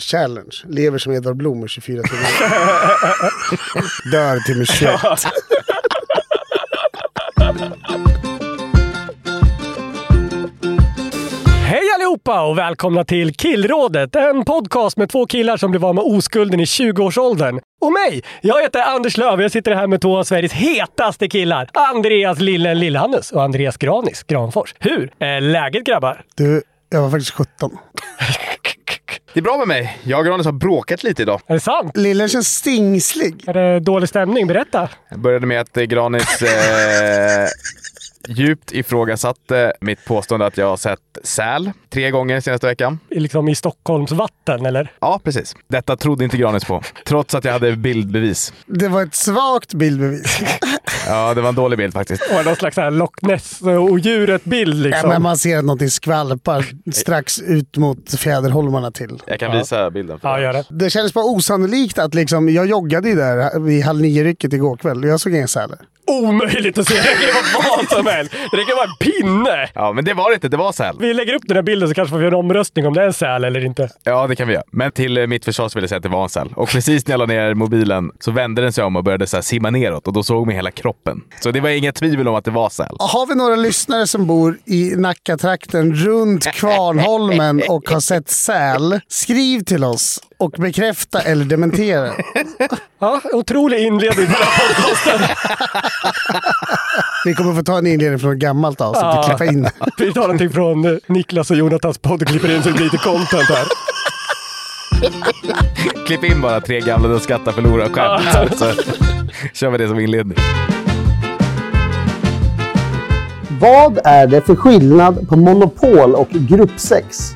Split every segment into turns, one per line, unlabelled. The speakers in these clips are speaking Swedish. challenge? Lever som Edvard Blom i 24 timmar. Dör till min 21.
Hej allihopa och välkomna till Killrådet, en podcast med två killar som blev av med oskulden i 20-årsåldern. Och mig! Jag heter Anders Löf och jag sitter här med två av Sveriges hetaste killar. Andreas Lillen Lillhannes och Andreas Granis Granfors. Hur är läget grabbar?
Du, jag var faktiskt 17.
Det är bra med mig. Jag och Granis har bråkat lite idag.
Är det sant?
Lillen känns stingslig.
Är det dålig stämning? Berätta.
Jag började med att eh, Granis eh, djupt ifrågasatte mitt påstående att jag har sett säl tre gånger senaste veckan.
Liksom i Stockholms vatten eller?
Ja, precis. Detta trodde inte Granis på, trots att jag hade bildbevis.
Det var ett svagt bildbevis.
Ja, det var en dålig bild faktiskt.
Och någon slags så här Loch Ness-odjuret-bild
Ja,
liksom.
men man ser att någonting skvalpar strax ut mot fjäderholmarna till.
Jag kan visa bilden. För
Ja,
dig.
gör det.
Det kändes bara osannolikt att liksom, jag joggade ju där vid halv nio-rycket igår kväll och jag såg inga sälar.
Omöjligt att se! Det kan vara vad som helst! Det kan vara en pinne!
Ja, men det var det inte. Det var säl.
Vi lägger upp den här bilden så kanske får vi en omröstning om det är en säl eller inte.
Ja, det kan vi göra. Men till eh, mitt försvar så vill jag säga att det var en säl. Och precis när jag la ner mobilen så vände den sig om och började så här simma neråt och då såg man hela kroppen. Så det var inget tvivel om att det var säl.
Har vi några lyssnare som bor i Nackatrakten runt Kvarnholmen och har sett säl? Skriv till oss och bekräfta eller dementera.
Ja, otrolig inledning på den här podcasten.
Vi kommer få ta en inledning från ett gammalt avsnitt och klippa in.
Vi tar någonting från eh, Niklas och Jonathans podd och klipper in så det blir lite content här.
Klipp in bara tre gamla den skattar förlorar skämt. Så kör vi det som inledning.
Vad är det för skillnad på monopol och gruppsex?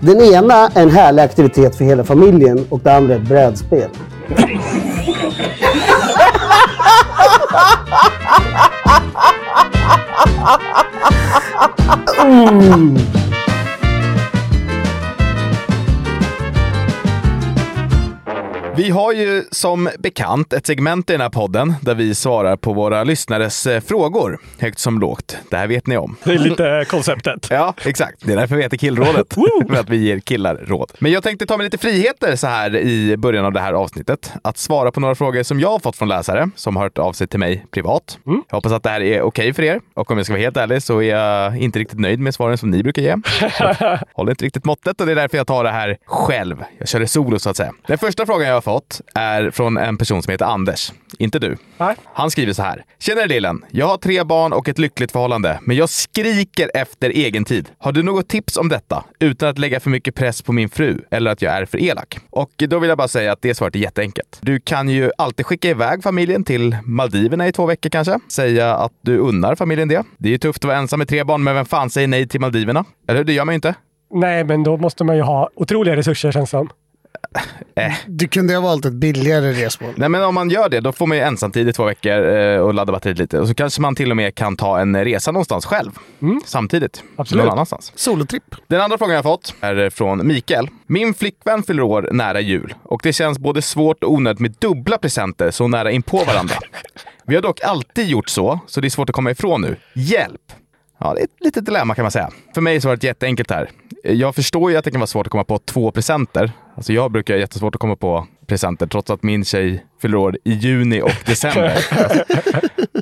Den ena är en härlig aktivitet för hela familjen och den andra ett brädspel.
Vi har ju som bekant ett segment i den här podden där vi svarar på våra lyssnares eh, frågor, högt som lågt. Det här vet ni om.
Det är lite eh, konceptet.
Ja, exakt. Det är därför vi heter Killrådet. för att vi ger killar råd. Men jag tänkte ta mig lite friheter så här i början av det här avsnittet. Att svara på några frågor som jag har fått från läsare som har hört av sig till mig privat. Jag hoppas att det här är okej för er. Och om jag ska vara helt ärlig så är jag inte riktigt nöjd med svaren som ni brukar ge. Jag håller inte riktigt måttet och det är därför jag tar det här själv. Jag kör det solo så att säga. Den första frågan jag har fått är från en person som heter Anders. Inte du.
Nej.
Han skriver så här. Tjenare Dylan! Jag har tre barn och ett lyckligt förhållande, men jag skriker efter egen tid. Har du något tips om detta? Utan att lägga för mycket press på min fru eller att jag är för elak. Och då vill jag bara säga att det svaret är jätteenkelt. Du kan ju alltid skicka iväg familjen till Maldiverna i två veckor kanske. Säga att du unnar familjen det. Det är ju tufft att vara ensam med tre barn, men vem fan säger nej till Maldiverna? Eller hur? Det gör man ju inte.
Nej, men då måste man ju ha otroliga resurser känns det som.
Du kunde ha valt ett billigare resmål.
Nej men om man gör det, då får man ju ensamtid i två veckor eh, och ladda batteriet lite. Och så kanske man till och med kan ta en resa någonstans själv. Samtidigt.
Absolut.
Någon annanstans.
Solotripp.
Den andra frågan jag har fått är från Mikael. Min flickvän fyller år nära jul och det känns både svårt och onödigt med dubbla presenter så nära in på varandra. Vi har dock alltid gjort så, så det är svårt att komma ifrån nu. Hjälp! Ja, det är ett litet dilemma kan man säga. För mig är svaret jätteenkelt här. Jag förstår ju att det kan vara svårt att komma på två presenter Alltså jag brukar ha jättesvårt att komma på presenter trots att min tjej fyller år i juni och december.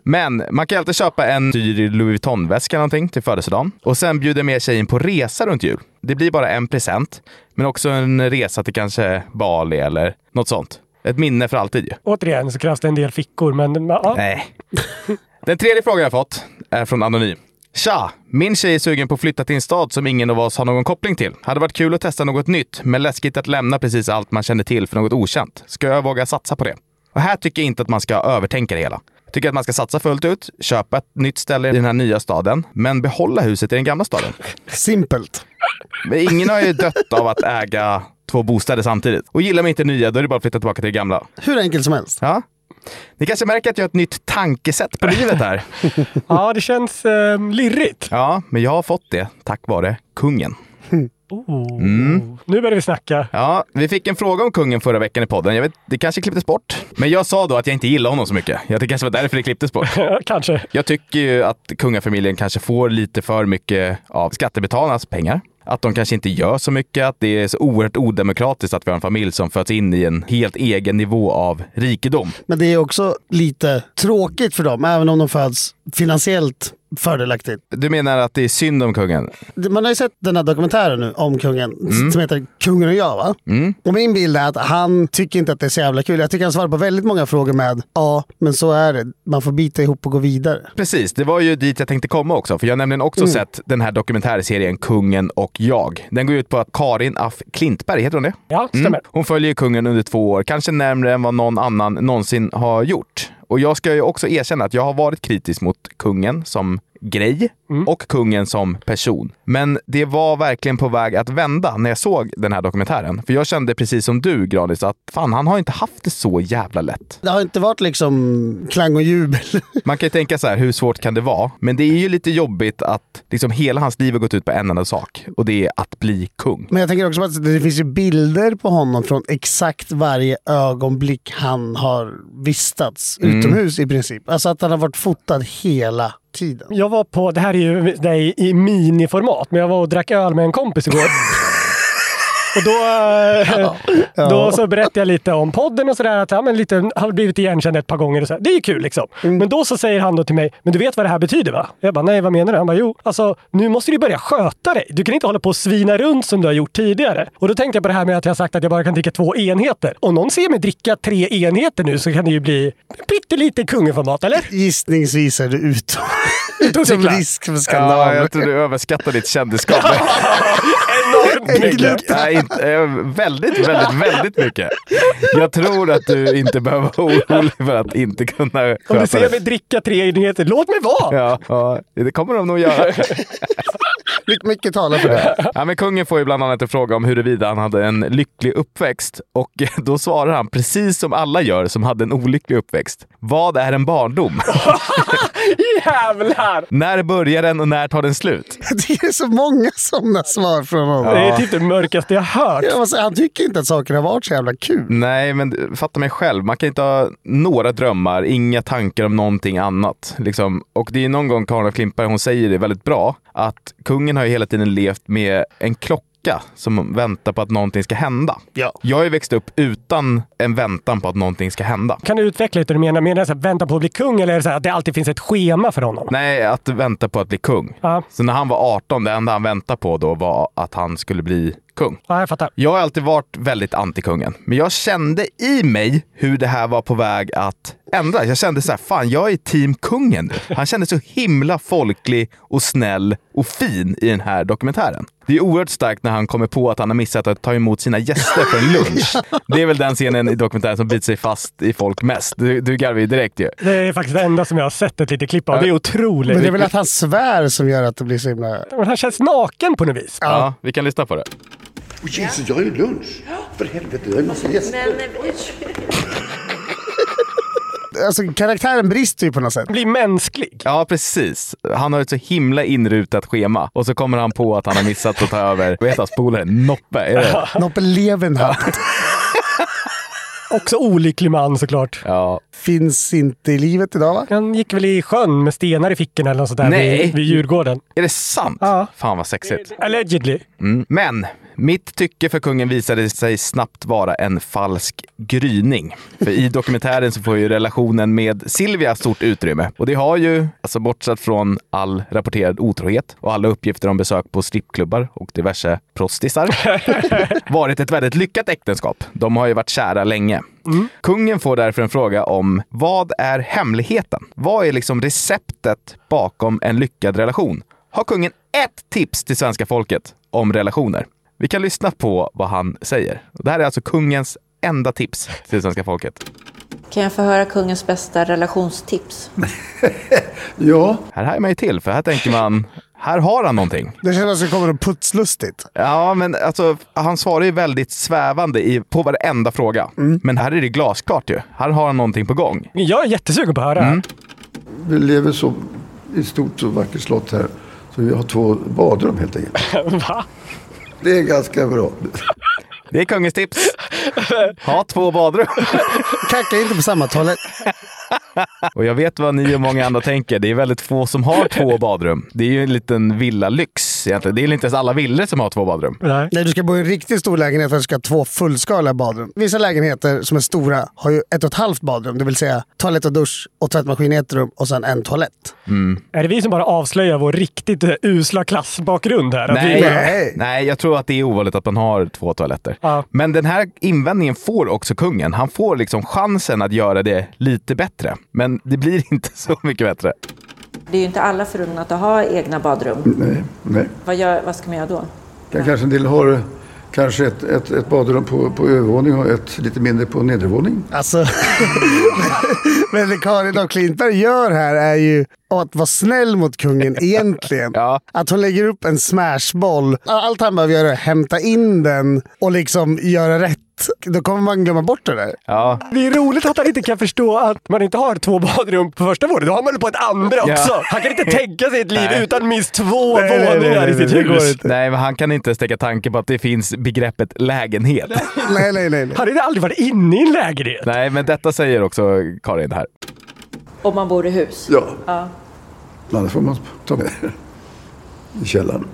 Men man kan ju alltid köpa en dyr Louis Vuitton-väska eller någonting till födelsedagen och sen bjuda med tjejen på resa runt jul. Det blir bara en present, men också en resa till kanske Bali eller något sånt. Ett minne för alltid ju.
Återigen så krävs det en del fickor, men ja.
Nej. Den tredje frågan jag fått är från Anonym. Tja! Min tjej är sugen på att flytta till en stad som ingen av oss har någon koppling till. Hade varit kul att testa något nytt, men läskigt att lämna precis allt man känner till för något okänt. Ska jag våga satsa på det? Och här tycker jag inte att man ska övertänka det hela. Jag tycker att man ska satsa fullt ut, köpa ett nytt ställe i den här nya staden, men behålla huset i den gamla staden.
Simpelt.
Men ingen har ju dött av att äga två bostäder samtidigt. Och gillar man inte nya, då är det bara att flytta tillbaka till det gamla.
Hur enkelt som helst.
Ja. Ni kanske märker att jag har ett nytt tankesätt på livet här.
ja, det känns eh, lirrigt.
Ja, men jag har fått det tack vare kungen.
Nu börjar vi snacka.
Ja, vi fick en fråga om kungen förra veckan i podden. Jag vet, det kanske klipptes bort. Men jag sa då att jag inte gillar honom så mycket. Jag det kanske var därför det klipptes bort.
Kanske.
Jag tycker ju att kungafamiljen kanske får lite för mycket av skattebetalarnas pengar. Att de kanske inte gör så mycket, att det är så oerhört odemokratiskt att vi har en familj som föds in i en helt egen nivå av rikedom.
Men det är också lite tråkigt för dem, även om de föds finansiellt fördelaktigt.
Du menar att det är synd om kungen?
Man har ju sett den här dokumentären nu om kungen,
Mm.
som heter Kungen och jag va? Och min bild är att han tycker inte att det är så jävla kul. Jag tycker han svarar på väldigt många frågor med ja, men så är det. Man får bita ihop och gå vidare.
Precis, det var ju dit jag tänkte komma också. För jag har nämligen också sett den här dokumentärserien Kungen och jag. Den går ut på att Karin Aff Klintberg, heter hon det?
Ja, stämmer.
Hon följer kungen under två år, kanske närmre än vad någon annan någonsin har gjort. Och jag ska ju också erkänna att jag har varit kritisk mot kungen som grej och kungen som person. Men det var verkligen på väg att vända när jag såg den här dokumentären. För jag kände precis som du, Granis, att fan, han har inte haft det så jävla lätt.
Det har inte varit liksom klang och jubel.
Man kan ju tänka så här, hur svårt kan det vara? Men det är ju lite jobbigt att liksom hela hans liv har gått ut på en enda sak och det är att bli kung.
Men jag tänker också på att det finns ju bilder på honom från exakt varje ögonblick han har vistats
Mm.
utomhus i princip. Alltså att han har varit fotad hela tiden.
Jag var på, det här är ju det är i- i miniformat, men jag var och drack öl med en kompis igår. Och då, eh, då så berättade jag lite om podden och sådär. Att ja, men lite, har blivit igenkänd ett par gånger och så. här. Det är ju kul liksom. Men då så säger han då till mig, men du vet vad det här betyder va? Jag bara, nej vad menar du? Han bara, jo, alltså nu måste du börja sköta dig. Du kan inte hålla på och svina runt som du har gjort tidigare. Och då tänkte jag på det här med att jag har sagt att jag bara kan dricka två enheter. Om någon ser mig dricka tre enheter nu så kan det ju bli pyttelite kungaformat, eller?
Gissningsvis är du utom, utom
cyklar.
risk för
Ja,
skandal.
jag tror du överskattar ditt kändisskap.
Enormt mycket!
Nej, inte, eh, väldigt, väldigt, väldigt mycket. Jag tror att du inte behöver vara orolig för att inte kunna
Om du
sköta
ser mig
det.
dricka tre enheter, låt mig vara!
Ja, ja, det kommer de nog göra.
Mycket, mycket talar för det.
Ja, men kungen får ju bland annat en fråga om huruvida han hade en lycklig uppväxt och då svarar han precis som alla gör som hade en olycklig uppväxt. Vad är en barndom?
Jävlar!
när börjar den och när tar den slut?
Det är så många sådana svar från honom.
Det är typ det mörkaste jag hört.
Jag måste säga, han tycker inte att saker har varit så jävla kul.
Nej, men fatta mig själv. Man kan inte ha några drömmar, inga tankar om någonting annat. Liksom. Och det är någon gång Karin af Klintberg, hon säger det väldigt bra, att kungen har ju hela tiden levt med en klocka som väntar på att någonting ska hända.
Ja.
Jag har ju växt upp utan en väntan på att någonting ska hända.
Kan du utveckla lite hur du menar? Menar du så här, vänta på att bli kung eller är det så här, att det alltid finns ett schema för honom?
Nej, att vänta på att bli kung.
Ja.
Så när han var 18, det enda han väntade på då var att han skulle bli kung.
Ja, jag fattar.
Jag har alltid varit väldigt anti-kungen, men jag kände i mig hur det här var på väg att ändras. Jag kände så här, fan jag är team kungen nu. Han kändes så himla folklig och snäll och fin i den här dokumentären. Det är oerhört starkt när han kommer på att han har missat att ta emot sina gäster på en lunch. Det är väl den scenen i dokumentären som biter sig fast i folk mest. Du, du garvar ju direkt ju.
Det är faktiskt det enda som jag har sett ett litet klipp av. Det är otroligt.
Men det är väl att han svär som gör att det blir så himla...
Men han känns naken på något vis.
Ja, vi kan lyssna på det.
Och Jesus, jag har ju lunch! För helvete, jag har ju massa gäster.
Alltså, karaktären brister ju på något sätt.
Han blir mänsklig.
Ja, precis. Han har ett så himla inrutat schema och så kommer han på att han har missat att ta över, vad heter hans polare? Noppe? Är det?
Noppe Levenhardt
Också olycklig man såklart.
Ja,
finns inte i livet idag va?
Han gick väl i sjön med stenar i fickorna eller något sånt där
Nej.
vid, vid Djurgården.
Är det sant?
Ja.
Fan vad sexigt.
Allegedly.
Mm. Men Mitt tycke för kungen visade sig snabbt vara en falsk gryning. För i dokumentären så får ju relationen med Silvia stort utrymme. Och det har ju, alltså bortsett från all rapporterad otrohet och alla uppgifter om besök på strippklubbar och diverse prostisar, varit ett väldigt lyckat äktenskap. De har ju varit kära länge. Kungen får därför en fråga om vad är hemligheten? Vad är liksom receptet bakom en lyckad relation? Har kungen ett tips till svenska folket om relationer? Vi kan lyssna på vad han säger. Det här är alltså kungens enda tips till svenska folket.
Kan jag få höra kungens bästa relationstips?
Ja,
Här hajar man ju till, för här tänker man, här har han någonting.
Det känns som att det kommer något putslustigt.
Ja, men alltså, han svarar ju väldigt svävande i, på varenda fråga. Men här är det glasklart ju. Här har han någonting på gång.
Jag är jättesugen på att höra det här.
Mm.
vi lever så, i ett stort och vackert slott här. Så vi har två badrum helt enkelt.
Va?
Det är ganska bra.
Det är kungens tips. Ha två badrum.
Kacka inte på samma toalett.
Och jag vet vad ni och många andra tänker. Det är väldigt få som har två badrum. Det är ju en liten villalyx egentligen. Det är inte ens alla villor som har två badrum.
Nej.
Nej, du ska bo i en riktigt stor lägenhet för att du ska ha två fullskaliga badrum. Vissa lägenheter som är stora har ju ett och ett halvt badrum, det vill säga toalett och dusch och tvättmaskin i ett rum och sen en toalett.
Är det vi som bara avslöjar vår riktigt eh, usla klassbakgrund här? Att vi bara-
Nej, nej, jag tror att det är ovanligt att man har två toaletter.
Ja.
Men den här invändningen får också kungen. Han får liksom chansen att göra det lite bättre. Men det blir inte så mycket bättre.
Det är ju inte alla förunnat att ha egna badrum.
Nej, nej.
Vad, gör, vad ska man göra då?
Kan- Kanske en del har eh, kanske ett, ett, ett badrum på, på övervåning och ett lite mindre på nedervåning.
Alltså, men det Karin af Klintberg gör här är ju att vara snäll mot kungen egentligen.
Ja.
Att hon lägger upp en smashboll. Allt han behöver göra är att hämta in den och liksom göra rätt. Då kommer man glömma bort det där.
Ja,
Det är roligt att han inte kan förstå att man inte har två badrum på första våningen. Då har man det på ett andra
Ja.
också. Han kan inte tänka sig ett liv
Nej.
utan minst två
Nej, nej, nej,
våningar i
nej,
sitt
det går
hus.
inte.
nej, men han kan inte ens tänka tanken på att det finns begreppet lägenhet.
Nej, nej, nej. nej.
Han har ju aldrig varit inne i en lägenhet.
Nej, men detta säger också Karin här.
Om man bor i hus?
Ja. Annars får man ta med det i källaren.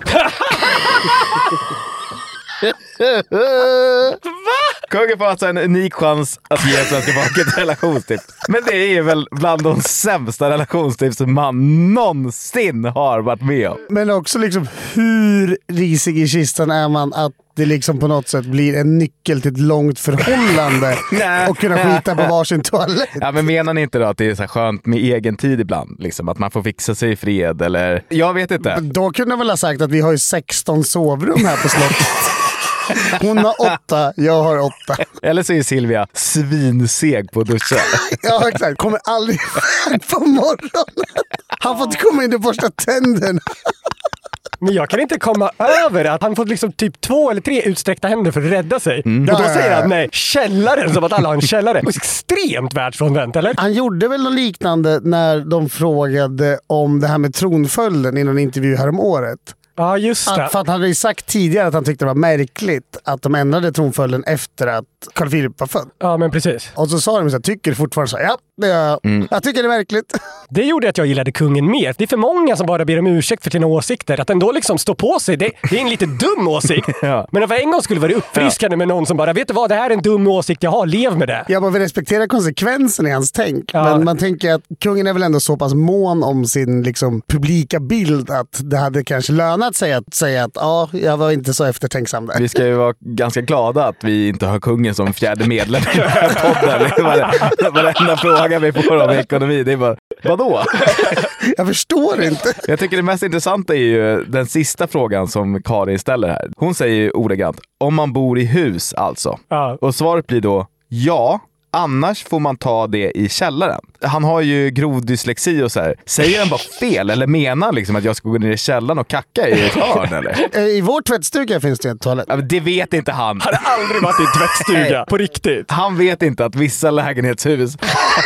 Kungen får alltså en unik chans att ge svenska folket relationstips. Men det är väl bland de sämsta relationstips man någonsin har varit med om.
Men också liksom hur risig i kistan är man att det liksom på något sätt blir en nyckel till ett långt förhållande
Nej.
och kunna skita på varsin toalett.
Ja, men menar ni inte då att det är så här skönt med egen tid ibland? Liksom, att man får fixa sig i fred eller? Jag vet inte.
Äh, Då kunde jag väl ha sagt att vi har ju 16 sovrum här på slottet. Hon har åtta, jag har åtta.
Eller så är Silvia svinseg på att duscha.
Ja, exakt. Kommer aldrig iväg på morgonen. Han får inte komma in i första tänderna.
Men jag kan inte komma över att han fått liksom typ två eller tre utsträckta händer för att rädda sig. Och då
Ja, ja,
säger
ja.
han nej, källaren, som att alla har en källare. Extremt världsfrånvänt, eller?
Han gjorde väl något liknande när de frågade om det här med tronföljden i någon intervju härom året.
Ja, just det.
Att, för att han hade ju sagt tidigare att han tyckte det var märkligt att de ändrade tronföljden efter att Carl Philip var född.
Ja, men precis.
Och så sa de så här, tycker du fortfarande så här, ja, det gör jag. Jag tycker det är märkligt.
Det gjorde att jag gillade kungen mer. Det är för många som bara ber om ursäkt för sina åsikter. Att ändå liksom stå på sig, det, det är en lite dum åsikt.
Ja.
Men för en gång skulle det vara uppfriskande med någon som bara, vet du vad, det här är en dum åsikt jag har, lev med det.
Jag bara vill respektera konsekvensen i hans tänk.
Ja.
Men man tänker att kungen är väl ändå så pass mån om sin liksom, publika bild att det hade kanske lönat sig att säga att ja, jag var inte så eftertänksam där.
Vi ska ju vara ganska glada att vi inte har kungen som fjärde medlem i den här podden. Det är bara- Varenda fråga vi får om ekonomi, det är bara vadå?
Jag förstår inte.
Jag tycker det mest intressanta är ju den sista frågan som Karin ställer här. Hon säger ju ordagrant, om man bor i hus alltså.
Ja.
Och svaret blir då ja, annars får man ta det i källaren. Han har ju grov dyslexi och så här. Säger han bara fel eller menar han liksom att jag ska gå ner i källaren och kacka i ett hörn eller?
Eh, I vår tvättstuga finns det ju en toalett.
Ja, men Det vet inte han.
Han har aldrig varit i en tvättstuga, på riktigt.
Han vet inte att vissa lägenhetshus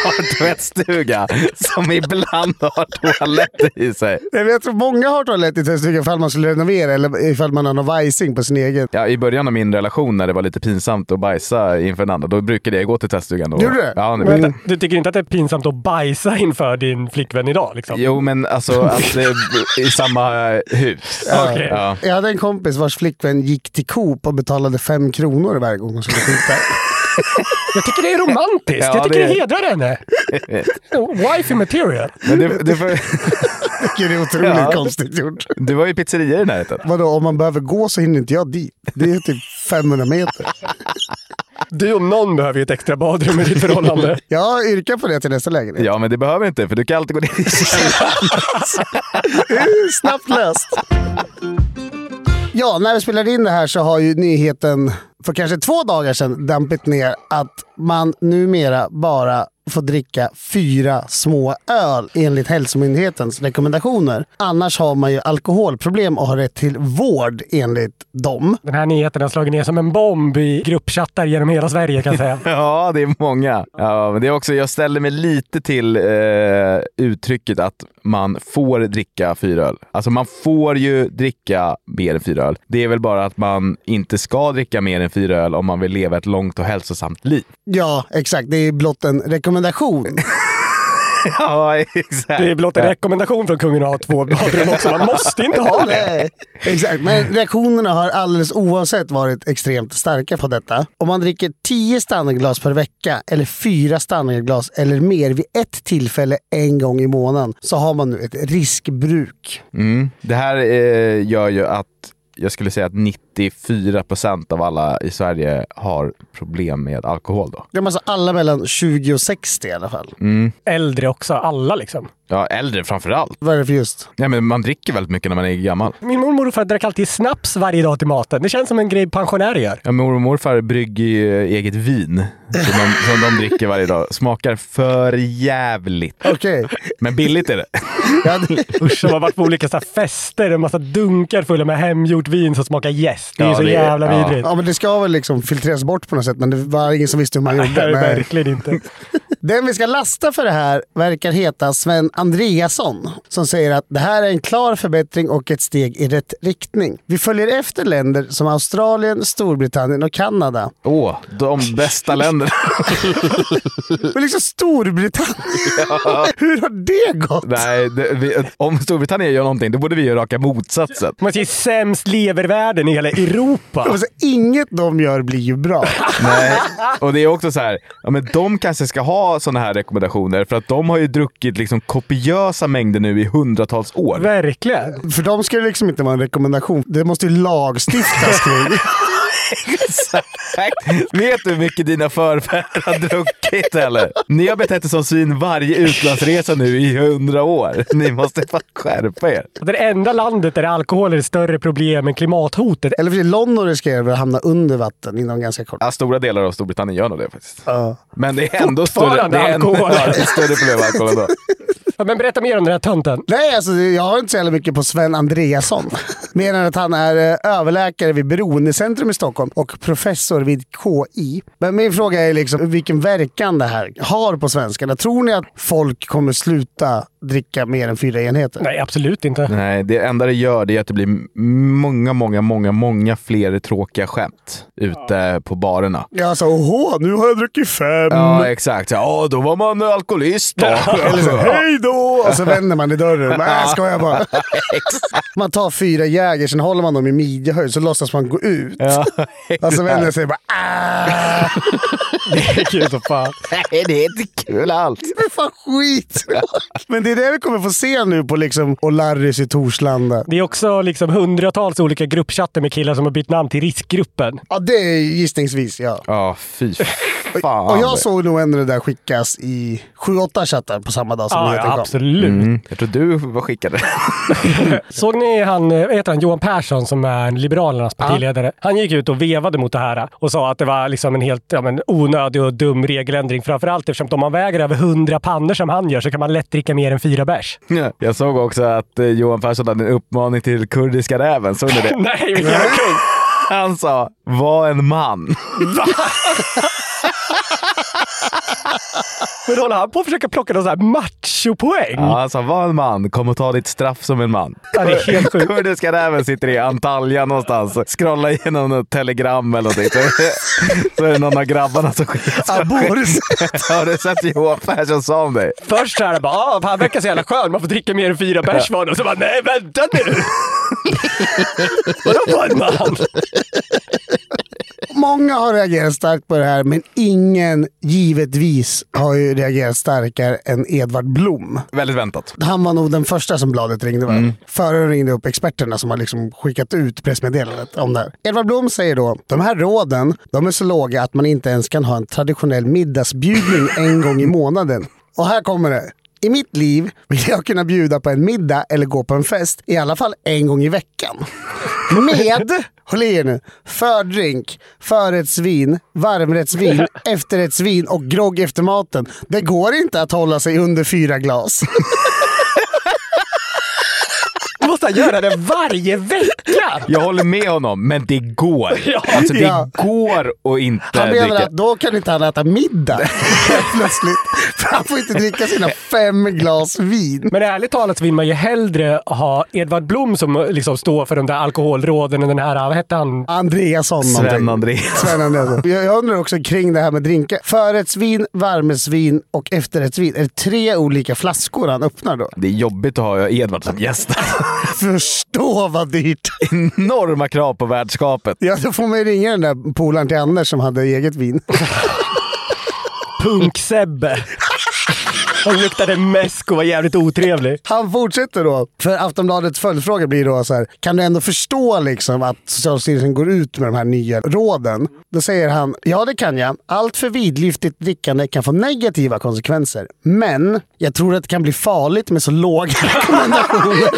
har tvättstuga som ibland har toalett i sig.
Nej, men Jag tror många har toalett i tvättstugan ifall man skulle renovera eller ifall man har någon vajsing på sin egen.
Ja, I början av min relation när det var lite pinsamt att bajsa inför en annan, då brukade jag gå till tvättstugan. Då.
Gjorde du det?
Ja, nu-
Vänta, du tycker inte att det är pinsamt pinsamt att bajsa inför din flickvän idag. Liksom.
Jo, men alltså att det är i samma hus.
Okej.
Ja.
Jag hade en kompis vars flickvän gick till Coop och betalade fem kronor varje gång hon skulle skjuta.
Jag tycker det är romantiskt.
Ja,
jag tycker det,
det-
hedrar henne. Oh, Wifey material.
Men det, det, var,
Det är otroligt
Ja.
konstigt gjort.
det var ju pizzerior i närheten.
Vadå, om man behöver gå så hinner inte jag dit. Det är typ 500 meter.
Du om någon behöver ju ett extra badrum i ditt förhållande.
Jag yrkar på det till nästa lägenhet.
Ja, men det behöver inte, för du kan alltid gå ner i
Snabbt löst. Ja, när vi spelar in det här så har ju nyheten för kanske två dagar sedan dampit ner att man numera bara får dricka fyra små öl enligt Hälsomyndighetens rekommendationer. Annars har man ju alkoholproblem och har rätt till vård enligt dem.
Den här nyheten har slagit ner som en bomb i gruppchattar genom hela Sverige kan jag säga.
Ja, det är många. Ja, men det är också, jag ställer mig lite till eh, uttrycket att man får dricka fyra öl. Alltså man får ju dricka mer än fyra öl. Det är väl bara att man inte ska dricka mer än fyra öl om man vill leva ett långt och hälsosamt liv.
Ja, exakt. Det är blott en rekommendation.
Ja, exakt.
Det är blott en rekommendation från kungen att ha två badrum också. Man måste inte ha det.
Nej, Exakt, men reaktionerna har alldeles oavsett varit extremt starka på detta. Om man dricker 10 standardglas per vecka eller fyra standardglas eller mer vid ett tillfälle en gång i månaden så har man nu ett riskbruk.
Mm. Det här eh, gör ju att jag skulle säga att 94 procent av alla i Sverige har problem med alkohol. Då.
Det är alltså alla mellan 20 och 60 i alla fall.
Mm. Äldre också, alla liksom.
Ja, äldre framför allt.
Vad är det för just?
Ja, men man dricker väldigt mycket när man är gammal.
Min mormor och far drack alltid snaps varje dag till maten. Det känns som en grej pensionärer gör.
Ja, mormor och morfar brygger ju eh, eget vin som de, som de dricker varje dag. Smakar för jävligt.
Okej.
Men billigt är det.
Ja, det-
Usch, de har varit på olika så här fester. En massa dunkar fulla med hemgjort vin som smakar jäst. Det är ju
Ja,
så
det är-
jävla
ja.
vidrigt.
Ja, men det ska väl liksom filtreras bort på något sätt, men det var ingen som visste hur man
Nej,
gjorde. Nej.
verkligen inte.
Den vi ska lasta för det här verkar heta Sven Andreasson som säger att det här är en klar förbättring och ett steg i rätt riktning. Vi följer efter länder som Australien, Storbritannien och Kanada.
Åh, de bästa länderna.
Men liksom Storbritannien! Hur har det gått?
Nej, det, vi, om Storbritannien gör någonting, då borde vi göra raka motsatsen.
Man ser sämst levervärden i hela Europa.
Alltså, inget de gör blir ju bra.
Nej. Och det är också så här, ja, men de kanske ska ha sådana här rekommendationer för att de har ju druckit liksom kopiösa mängder nu i hundratals år.
Verkligen.
För dem ska det liksom inte vara en rekommendation. Det måste ju lagstiftas kring.
Vet du hur mycket dina förfäder har druckit eller? Ni har betett er som svin varje utlandsresa nu i hundra år. Ni måste fan skärpa er.
Det enda landet där alkohol är ett större problem än klimathotet.
Eller för sig, London riskerar väl att hamna under vatten inom ganska kort
Ja, stora delar av Storbritannien gör nog det faktiskt. Men det är ändå större,
Fortfarande
det är ändå,
alkohol.
ja, det är större problem med alkohol ändå.
Ja, Men berätta mer om den här tönten.
Nej, alltså, jag har inte så jävla mycket på Sven Andreasson. Mer än att han är eh, överläkare vid Beroendecentrum i Stockholm och professor vid KI. Men min fråga är liksom vilken verkan det här har på svenskarna. Tror ni att folk kommer sluta dricka mer än fyra enheter?
Nej, absolut inte.
Nej, det enda det gör det är att det blir m- många, många, många, många fler tråkiga skämt ute på barerna.
Jag sa åhå, nu har jag druckit fem.
Ja,
Mm.
exakt. Så, Ja, då var man alkoholist då.
Eller så, hej då! Och så vänder man i dörren. Nej, ska jag bara. Man tar fyra jäger, sen håller man dem i midjehöjd, så låtsas man gå ut.
Ja,
Och så vänder
exakt.
man sig och bara ah!
Kul som fan.
Nej, det är inte kul alls.
Det är fan skit! Men det är det vi kommer få se nu på liksom O'Larrys i Torslanda.
Det är också liksom hundratals olika gruppchatter med killar som har bytt namn till riskgruppen.
Ja, det är gissningsvis ja.
Ja, fy fan.
Och jag såg nog ändå det där skickas i 7-8 chattar på samma dag som
Ja,
nyheten
ja,
kom.
absolut.
Mm, jag tror du var skickad.
Såg ni han, eh, vad heter han, Johan Persson som är Liberalernas partiledare? Han gick ut och vevade mot det här och sa att det var liksom en helt ja, men, onödig och dum regeländring. Framförallt eftersom att om man väger över 100 pannor som han gör så kan man lätt dricka mer än fyra bärs.
Jag såg också att eh, Johan Persson hade en uppmaning till kurdiska räven. Såg ni det?
Nej, vilken jävla kung!
Han sa “Var en man”.
Men håller han på att försöka plocka någon sån här machopoäng?
Ja, han sa var en man, kom och ta ditt straff som en man.
Mm. Ja, det är helt sjukt.
Kurdiska räven sitter i Antalya någonstans och scrollar igenom ett telegram eller någonting. Så, så är det någon av grabbarna som skickar.
Boris.
Har du sett Johan Persson sa om dig?
Först så här bara, ah, han verkar så jävla skön, man får dricka mer än fyra bärs var det. Och så bara, nej vänta nu! Vadå var en man?
Många har reagerat starkt på det här, men ingen givetvis har ju reagerat starkare än Edvard Blom.
Väldigt väntat.
Han var nog den första som bladet ringde. va? Före de ringde upp experterna som har liksom skickat ut pressmeddelandet om det här. Edvard Blom säger då, de här råden de är så låga att man inte ens kan ha en traditionell middagsbjudning en gång i månaden. Och här kommer det. I mitt liv vill jag kunna bjuda på en middag eller gå på en fest, i alla fall en gång i veckan. Med, håll i er nu, fördrink, förrättsvin, varmrättsvin, efterrättsvin och grogg efter maten. Det går inte att hålla sig under fyra glas.
Måste han göra det varje vecka?
Jag håller med honom, men det går.
Ja.
Alltså det
Ja.
går att inte
Han menar
dricka.
att då kan inte han äta middag helt plötsligt. För han får inte dricka sina fem glas vin.
Men ärligt talat så vill man ju hellre ha Edvard Blom som liksom står för de där alkoholråden än den här, eh, vad hette han?
Andreasson
Sven
någonting.
Andreas.
Sven Andreasson. Jag jag undrar också kring det här med drinkar. Förrättsvin, varmrättsvin och efterrättsvin. Är det tre olika flaskor han öppnar då?
Det är jobbigt att ha Edvard som gäst.
Förstå vad dyrt!
Enorma krav på värdskapet.
Ja, då får man ju ringa den där polaren till Anders som hade eget vin.
Punk-Sebbe. Han luktade mäsk och var jävligt otrevlig.
Han fortsätter då, för Aftonbladets följdfråga blir då så här. Kan du ändå förstå liksom att Socialstyrelsen går ut med de här nya råden? Då säger han, ja det kan jag. Allt för vidlyftigt drickande kan få negativa konsekvenser. Men jag tror att det kan bli farligt med så låga rekommendationer.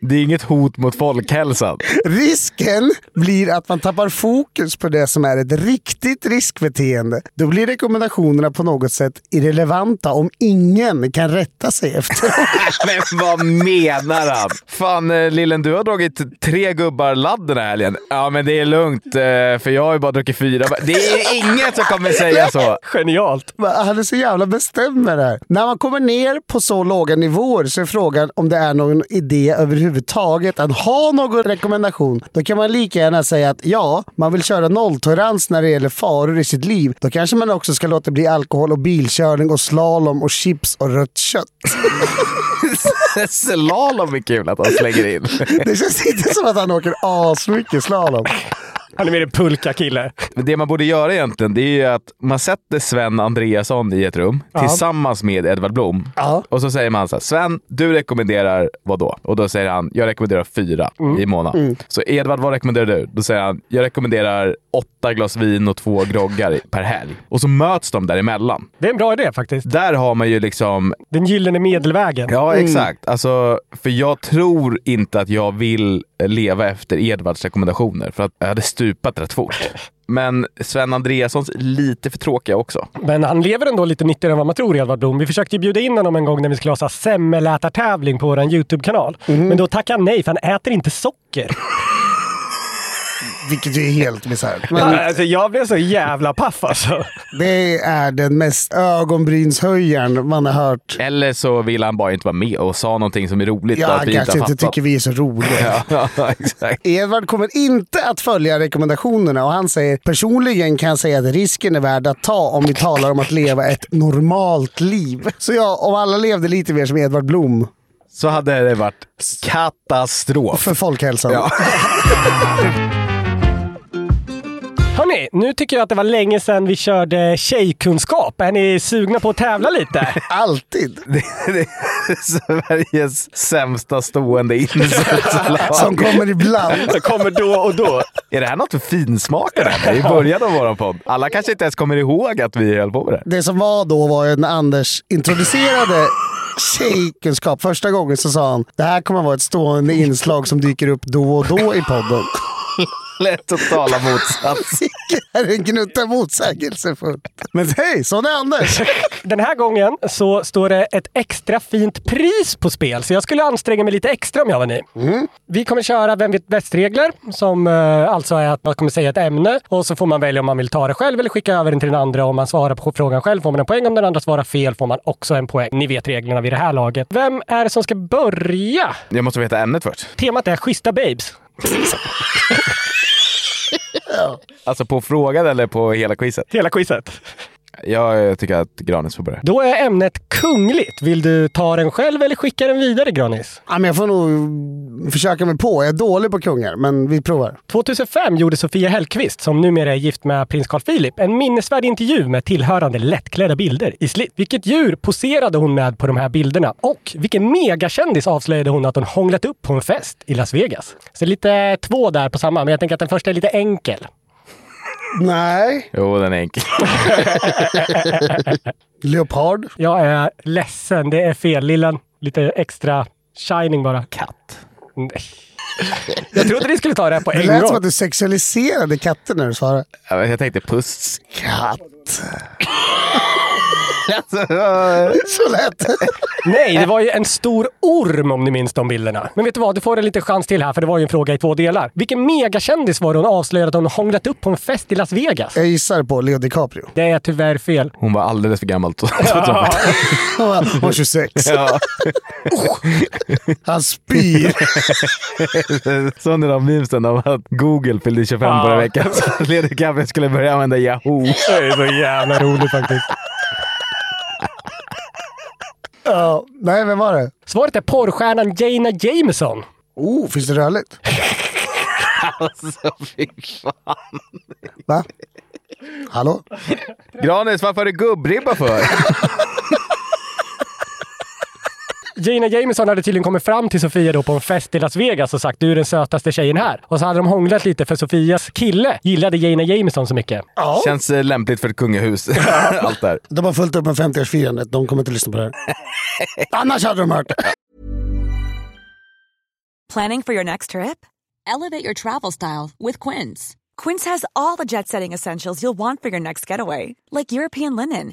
Det är inget hot mot folkhälsan.
Risken blir att man tappar fokus på det som är ett riktigt riskbeteende. Då blir rekommendationerna på något sätt irrelevanta om ingen kan rätta sig efter dem.
Men vad menar han? Fan eh, Lillen, du har dragit tre gubbar ladd den här helgen. Ja, men det är lugnt eh, för jag har ju bara druckit fyra. bär. Det är ingen som kommer säga så.
Genialt.
Va, Han är så jävla bestämd med det här. När man kommer ner på så låga nivåer så är frågan om det är någon idé överhuvudtaget att ha någon rekommendation. Då kan man lika gärna säga att ja, man vill köra nolltolerans när det gäller faror i sitt liv. Då kanske man också ska låta bli alkohol och bilkörning och slalom och chips och rött kött.
Slalom är kul att han slänger in.
Det känns inte som att han åker asmycket slalom.
Han är mer en pulka-kille.
Men det man borde göra egentligen, det är ju att man sätter Sven Andreasson i ett rum tillsammans med Edvard Blom.
Ja.
Och så säger man så här, Sven, du rekommenderar vad då? Och då säger han, jag rekommenderar fyra i månaden. Så Edvard, vad rekommenderar du? Då säger han, jag rekommenderar åtta glas vin och två groggar i- per helg. Och så möts de däremellan.
Det är en bra idé faktiskt.
Där har man ju liksom,
Den gyllene medelvägen.
ja
Mm.
exakt. Alltså, för jag tror inte att jag vill leva efter Edvards rekommendationer, för att jag hade stupat rätt fort. Men Sven Andreassons är lite för tråkiga också.
Men han lever ändå lite nyttigare än vad man tror, Edvard Blom. Vi försökte ju bjuda in honom en gång när vi skulle ha så här semmelätartävling på vår YouTube-kanal. Men då tackade han nej, för han äter inte socker.
Vilket ju är helt bisarrt. Men
Alltså, jag blev så jävla paff alltså.
det är den mest ögonbrynshöjaren man har hört.
Eller så vill han bara inte vara med och sa någonting som är roligt och
Ja,
att vi inte
kanske
har
inte
fattat.
tycker vi är så roliga.
Ja, exakt.
Edvard kommer inte att följa rekommendationerna och han säger personligen kan jag säga att risken är värd att ta om vi talar om att leva ett normalt liv. Så ja, om alla levde lite mer som Edvard Blom
Så hade det varit katastrof.
för folkhälsan.
Hörni, nu tycker jag att det var länge sedan vi körde tjejkunskap. Är ni sugna på att tävla lite?
Alltid.
Det är Sveriges sämsta stående
Som
insättslag.
kommer ibland.
Det kommer då och då.
Är det här något för finsmakare? I början av vår podd. Alla kanske inte ens kommer ihåg att vi höll på med det.
Det som var då var ju när Anders introducerade tjejkunskap första gången så sa han det här kommer vara ett stående inslag som dyker upp då och då i podden.
eller totala motsats.
Det här är en gnutta motsägelsefullt. Men hej, sån är Anders!
Den här gången så står det ett extra fint pris på spel, så jag skulle anstränga mig lite extra om jag var ni. Vi kommer köra Vem vet bäst-regler, som eh, alltså är att man kommer säga ett ämne och så får man välja om man vill ta det själv eller skicka över den till den andra. Om man svarar på frågan själv får man en poäng, om den andra svarar fel får man också en poäng. Ni vet reglerna vid det här laget. Vem är det som ska börja?
Jag måste veta ämnet först.
Temat är schyssta babes.
Alltså på frågan eller på hela quizet?
Hela quizet.
Jag eh, tycker att Granis får börja.
Då är ämnet kungligt. Vill du ta den själv eller skicka den vidare, Granis?
Ja, men jag får nog försöka mig på. Jag är dålig på kungar, men vi provar.
2005 gjorde Sofia Hellqvist, som numera är gift med prins Carl Philip, en minnesvärd intervju med tillhörande lättklädda bilder i slit. Vilket djur poserade hon med på de här bilderna? Och vilken megakändis avslöjade hon att hon hånglat upp på en fest i Las Vegas? Så lite två där på samma, men jag tänker att den första är lite enkel.
Nej.
Jo, den är enkel.
Leopard.
Jag är ledsen, det är fel. Lillen, lite extra shining bara. Katt. Nej. Jag trodde ni skulle ta det här på
Det
en
lät som
gång.
att du sexualiserade katter när du svarade.
Ja, men Jag tänkte puss.
Katt.
Alltså, eh,
Så lät det.
Nej, det var ju en stor orm om ni minns de bilderna. Men vet du vad, du får en liten chans till här för det var ju en fråga i två delar. Vilken megakändis var det hon avslöjade att hon hånglat upp på en fest i Las Vegas?
Jag gissar på Leo DiCaprio.
Det är tyvärr fel.
Hon var alldeles för gammal. så- så att hon-
Han var- han var 26.
Ja.
Han spyr.
Sån är de memesen om att Google fyllde 25
Ja.
förra veckan. Så Lady Gaga skulle börja använda Yahoo.
Det är så jävla roligt faktiskt.
Ja. Nej, vem var det?
Svaret är porrstjärnan Jaina Jameson.
Oh, finns det rörligt? Alltså, Va? Hallå?
Granis, varför har du gubbribba för?
Jaina Jameson hade tydligen kommit fram till Sofia då på en fest i Las Vegas och sagt du är den sötaste tjejen här. Och så hade de hånglat lite för Sofias kille gillade Jaina Jameson så mycket.
Känns eh, lämpligt för ett kungahus. Allt där.
De har fullt upp med 50-årsfirandet. De kommer inte lyssna på det här. Annars hade de hört det.
Planning for your next trip? Elevate your travel style with Quince. Quince has all the jet setting essentials you'll want for your next getaway, like European linen,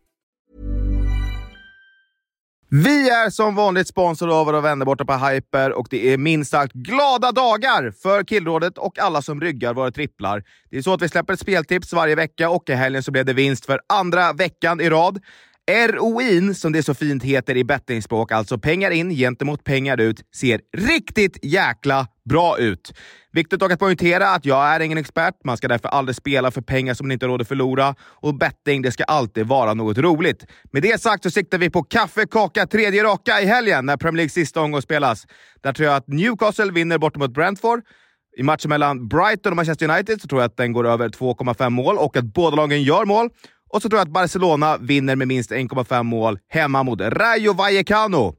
Vi är som vanligt sponsrade av våra vänner borta på Hyper och det är minst sagt glada dagar för Killrådet och alla som ryggar våra tripplar. Det är så att vi släpper ett speltips varje vecka och i helgen så blev det vinst för andra veckan i rad. ROIn, som det så fint heter i bettingspråk, alltså pengar in gentemot pengar ut, ser riktigt jäkla bra ut. Viktigt dock att poängtera att jag är ingen expert. Man ska därför aldrig spela för pengar som man inte råder förlora. Och betting, det ska alltid vara något roligt. Med det sagt så siktar vi på kaffe, kaka, tredje raka i helgen när Premier Leagues sista omgång spelas. Där tror jag att Newcastle vinner borta mot Brentford. I matchen mellan Brighton och Manchester United så tror jag att den går över 2,5 mål och att båda lagen gör mål. Och så tror jag att Barcelona vinner med minst 1,5 mål hemma mot Rayo Vallecano.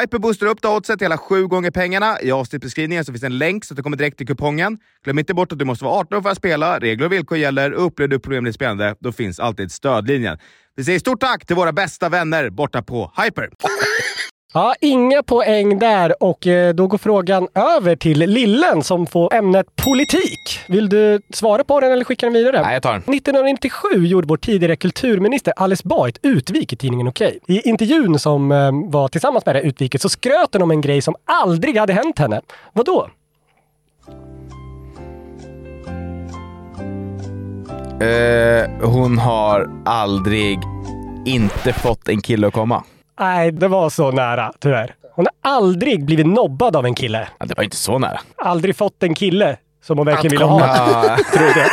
Hyper boostar upp då oddset till hela sju gånger pengarna. I avsnittbeskrivningen så finns en länk så att du kommer direkt till kupongen. Glöm inte bort att du måste vara 18 år för att spela. Regler och villkor gäller. Upplever du problem med spelande, då finns alltid stödlinjen. Vi säger stort tack till våra bästa vänner borta på Hyper.
Ja, inga poäng där och eh, då går frågan över till Lillen som får ämnet politik. Vill du svara på den eller skicka den vidare?
Nej, jag tar den.
1997 gjorde vår tidigare kulturminister Alice Bah ett utvik i tidningen Okej. I intervjun som eh, var tillsammans med det här utviket så skröt hon om en grej som aldrig hade hänt henne. Vadå?
hon har aldrig inte fått en kille att komma.
Nej, det var så nära, tyvärr. Hon har aldrig blivit nobbad av en kille.
Ja, det var inte så nära.
Aldrig fått en kille som hon verkligen
Att
ville
komma.
ha.
Ja.
Trodde jag.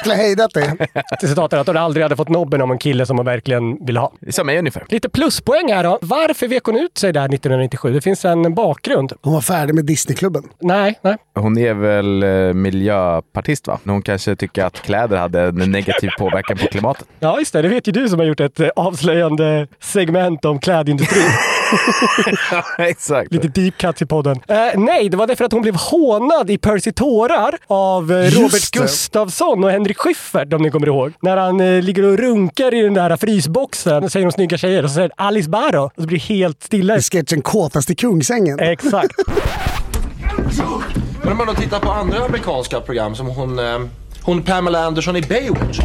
Skulle ha hejdat dig.
Citatet att hon aldrig hade fått nobben om en kille som hon verkligen ville ha.
Som mig ungefär.
Lite pluspoäng här då. Varför vek hon ut sig där 1997? Det finns en bakgrund.
Hon var färdig med Disneyklubben.
Nej, nej.
Hon är väl eh, miljöpartist va? Men Hon kanske tycker att kläder hade en negativ påverkan på klimatet.
Ja, just det. Det vet ju du som har gjort ett eh, avslöjande segment om klädindustrin.
Exakt.
Lite deep cut i podden. Eh, nej, det var därför att hon blev hånad i Percy tårar av eh,
Just
Robert
det.
Gustafsson och Henrik Schyffert, om ni kommer ihåg. När han eh, ligger och runkar i den där frysboxen och säger de snygga tjejer och så säger Alice Barro och så blir det helt stilla. I
sketchen Kåtast i Kungsängen.
Exakt.
Men om man då tittar på andra amerikanska program som hon, eh, hon Pamela Anderson i Baywatch.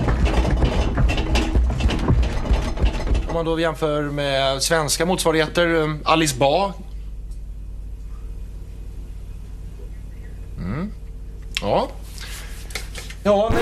Om man då jämför med svenska motsvarigheter, eh, Alice Ba. Mm. Ja. Ja,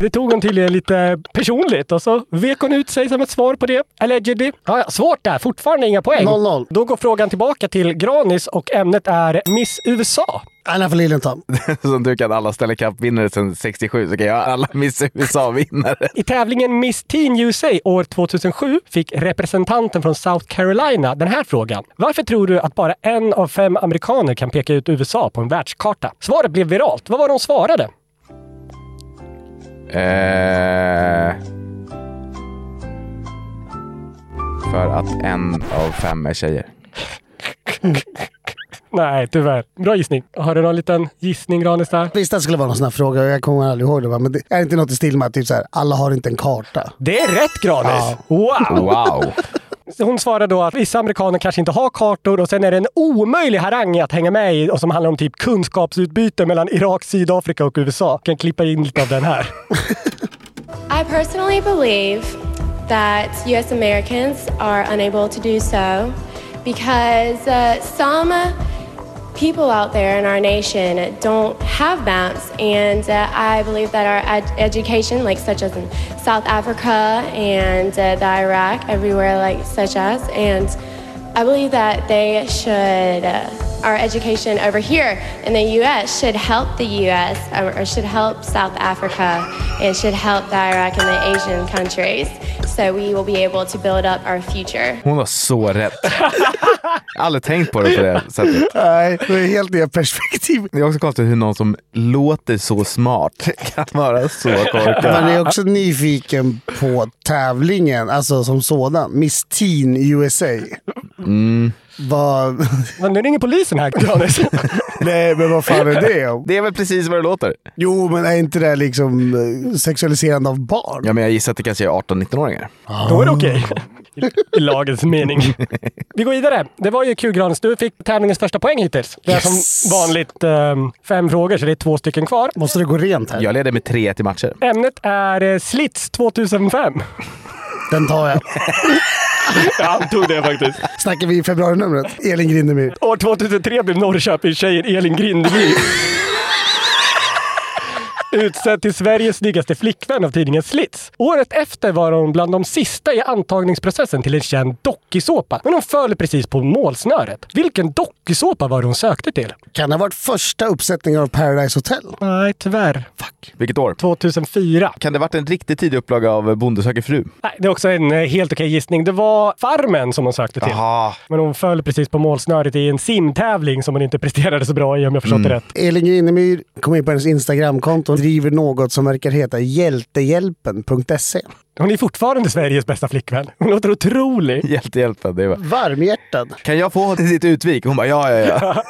Det tog hon tydligen lite personligt och så vek hon ut sig som ett svar på det. Allegedly. Ja, ja, svårt där. Fortfarande inga poäng.
0-0.
Då går frågan tillbaka till Granis och ämnet är Miss USA.
Anna von Liljenthal.
Som du kan alla Stanley Cup-vinnare sedan 67 så kan jag alla Miss USA-vinnare.
I tävlingen Miss Teen USA år 2007 fick representanten från South Carolina den här frågan. Varför tror du att bara en av fem amerikaner kan peka ut USA på en världskarta? Svaret blev viralt. Vad var det hon svarade?
Eh, för att en av fem är tjejer.
Nej, tyvärr. Bra gissning. Har du någon liten gissning, Granis? Där?
Visst det skulle vara någon sån här fråga, jag kommer aldrig ihåg det. va? Men det är inte något i stil med att typ så här, alla har inte en karta?
Det är rätt, Granis! Wow!
Wow!
Hon svarar då att vissa amerikaner kanske inte har kartor och sen är det en omöjlig harang att hänga med i och som handlar om typ kunskapsutbyte mellan Irak, Sydafrika och USA. Kan klippa in lite av den här.
I personally believe that US Americans are unable to do so because uh, some people out there in our nation don't have maps. And uh, I believe that our ed- education, like such as in South Africa and uh, the Iraq, everywhere like such as, and I believe that they should, uh, our education over here in the US should help the US or, or should help South Africa and should help the Iraq and the Asian countries so we will be able to build up our future.
Hon var så rätt. Jag har aldrig tänkt på det på det sättet.
Nej, det är helt nya perspektiv.
Det är också konstigt hur någon som låter så smart kan vara så korkad.
Man är också nyfiken på tävlingen, alltså som sådan. Miss Teen USA.
Mm.
Vad...
Men nu ringer polisen här, Granis.
Nej, men vad fan är det om?
Det är väl precis vad det låter.
Jo, men är inte det liksom eh, sexualiserande av barn?
Ja, men jag gissar att det kanske är 18-19-åringar.
Då är det okej. I lagets mening. Vi går vidare. Det var ju kul Granis. Du fick tävlingens första poäng hittills. Det är som vanligt ehm, fem frågor, så det är två stycken kvar.
Måste det gå rent här?
Jag leder med 3-1 i matcher.
Ämnet är eh, Slits 2005.
Den tar jag.
Jag antog det faktiskt.
Snackar vi i februarinumret? Elin Grindemyr.
År 2003 blev Norrköpingstjejen Elin Grindeby utsedd till Sveriges snyggaste flickvän av tidningen Slits. Året efter var hon bland de sista i antagningsprocessen till en känd dokusåpa, men hon föll precis på målsnöret. Vilken dokusåpa var det hon sökte till?
Kan det ha varit första uppsättningen av Paradise Hotel?
Nej, tyvärr.
Vilket år?
2004.
Kan det varit en riktigt tidig upplaga av Bonde söker fru?
Nej, det är också en eh, helt okej gissning. Det var Farmen som hon sökte till.
Jaha.
Men hon föll precis på målsnöret i en simtävling som hon inte presterade så bra i om jag förstått det rätt.
Elin Grinemyr kom in på hennes Instagramkonto och driver något som verkar heta hjältehjälpen.se.
Hon är fortfarande Sveriges bästa flickvän. Hon låter otrolig.
Hjältehjälpande. Jag bara,
Varmhjärtad.
Kan jag få ditt utvik? Hon bara, ja, ja, ja.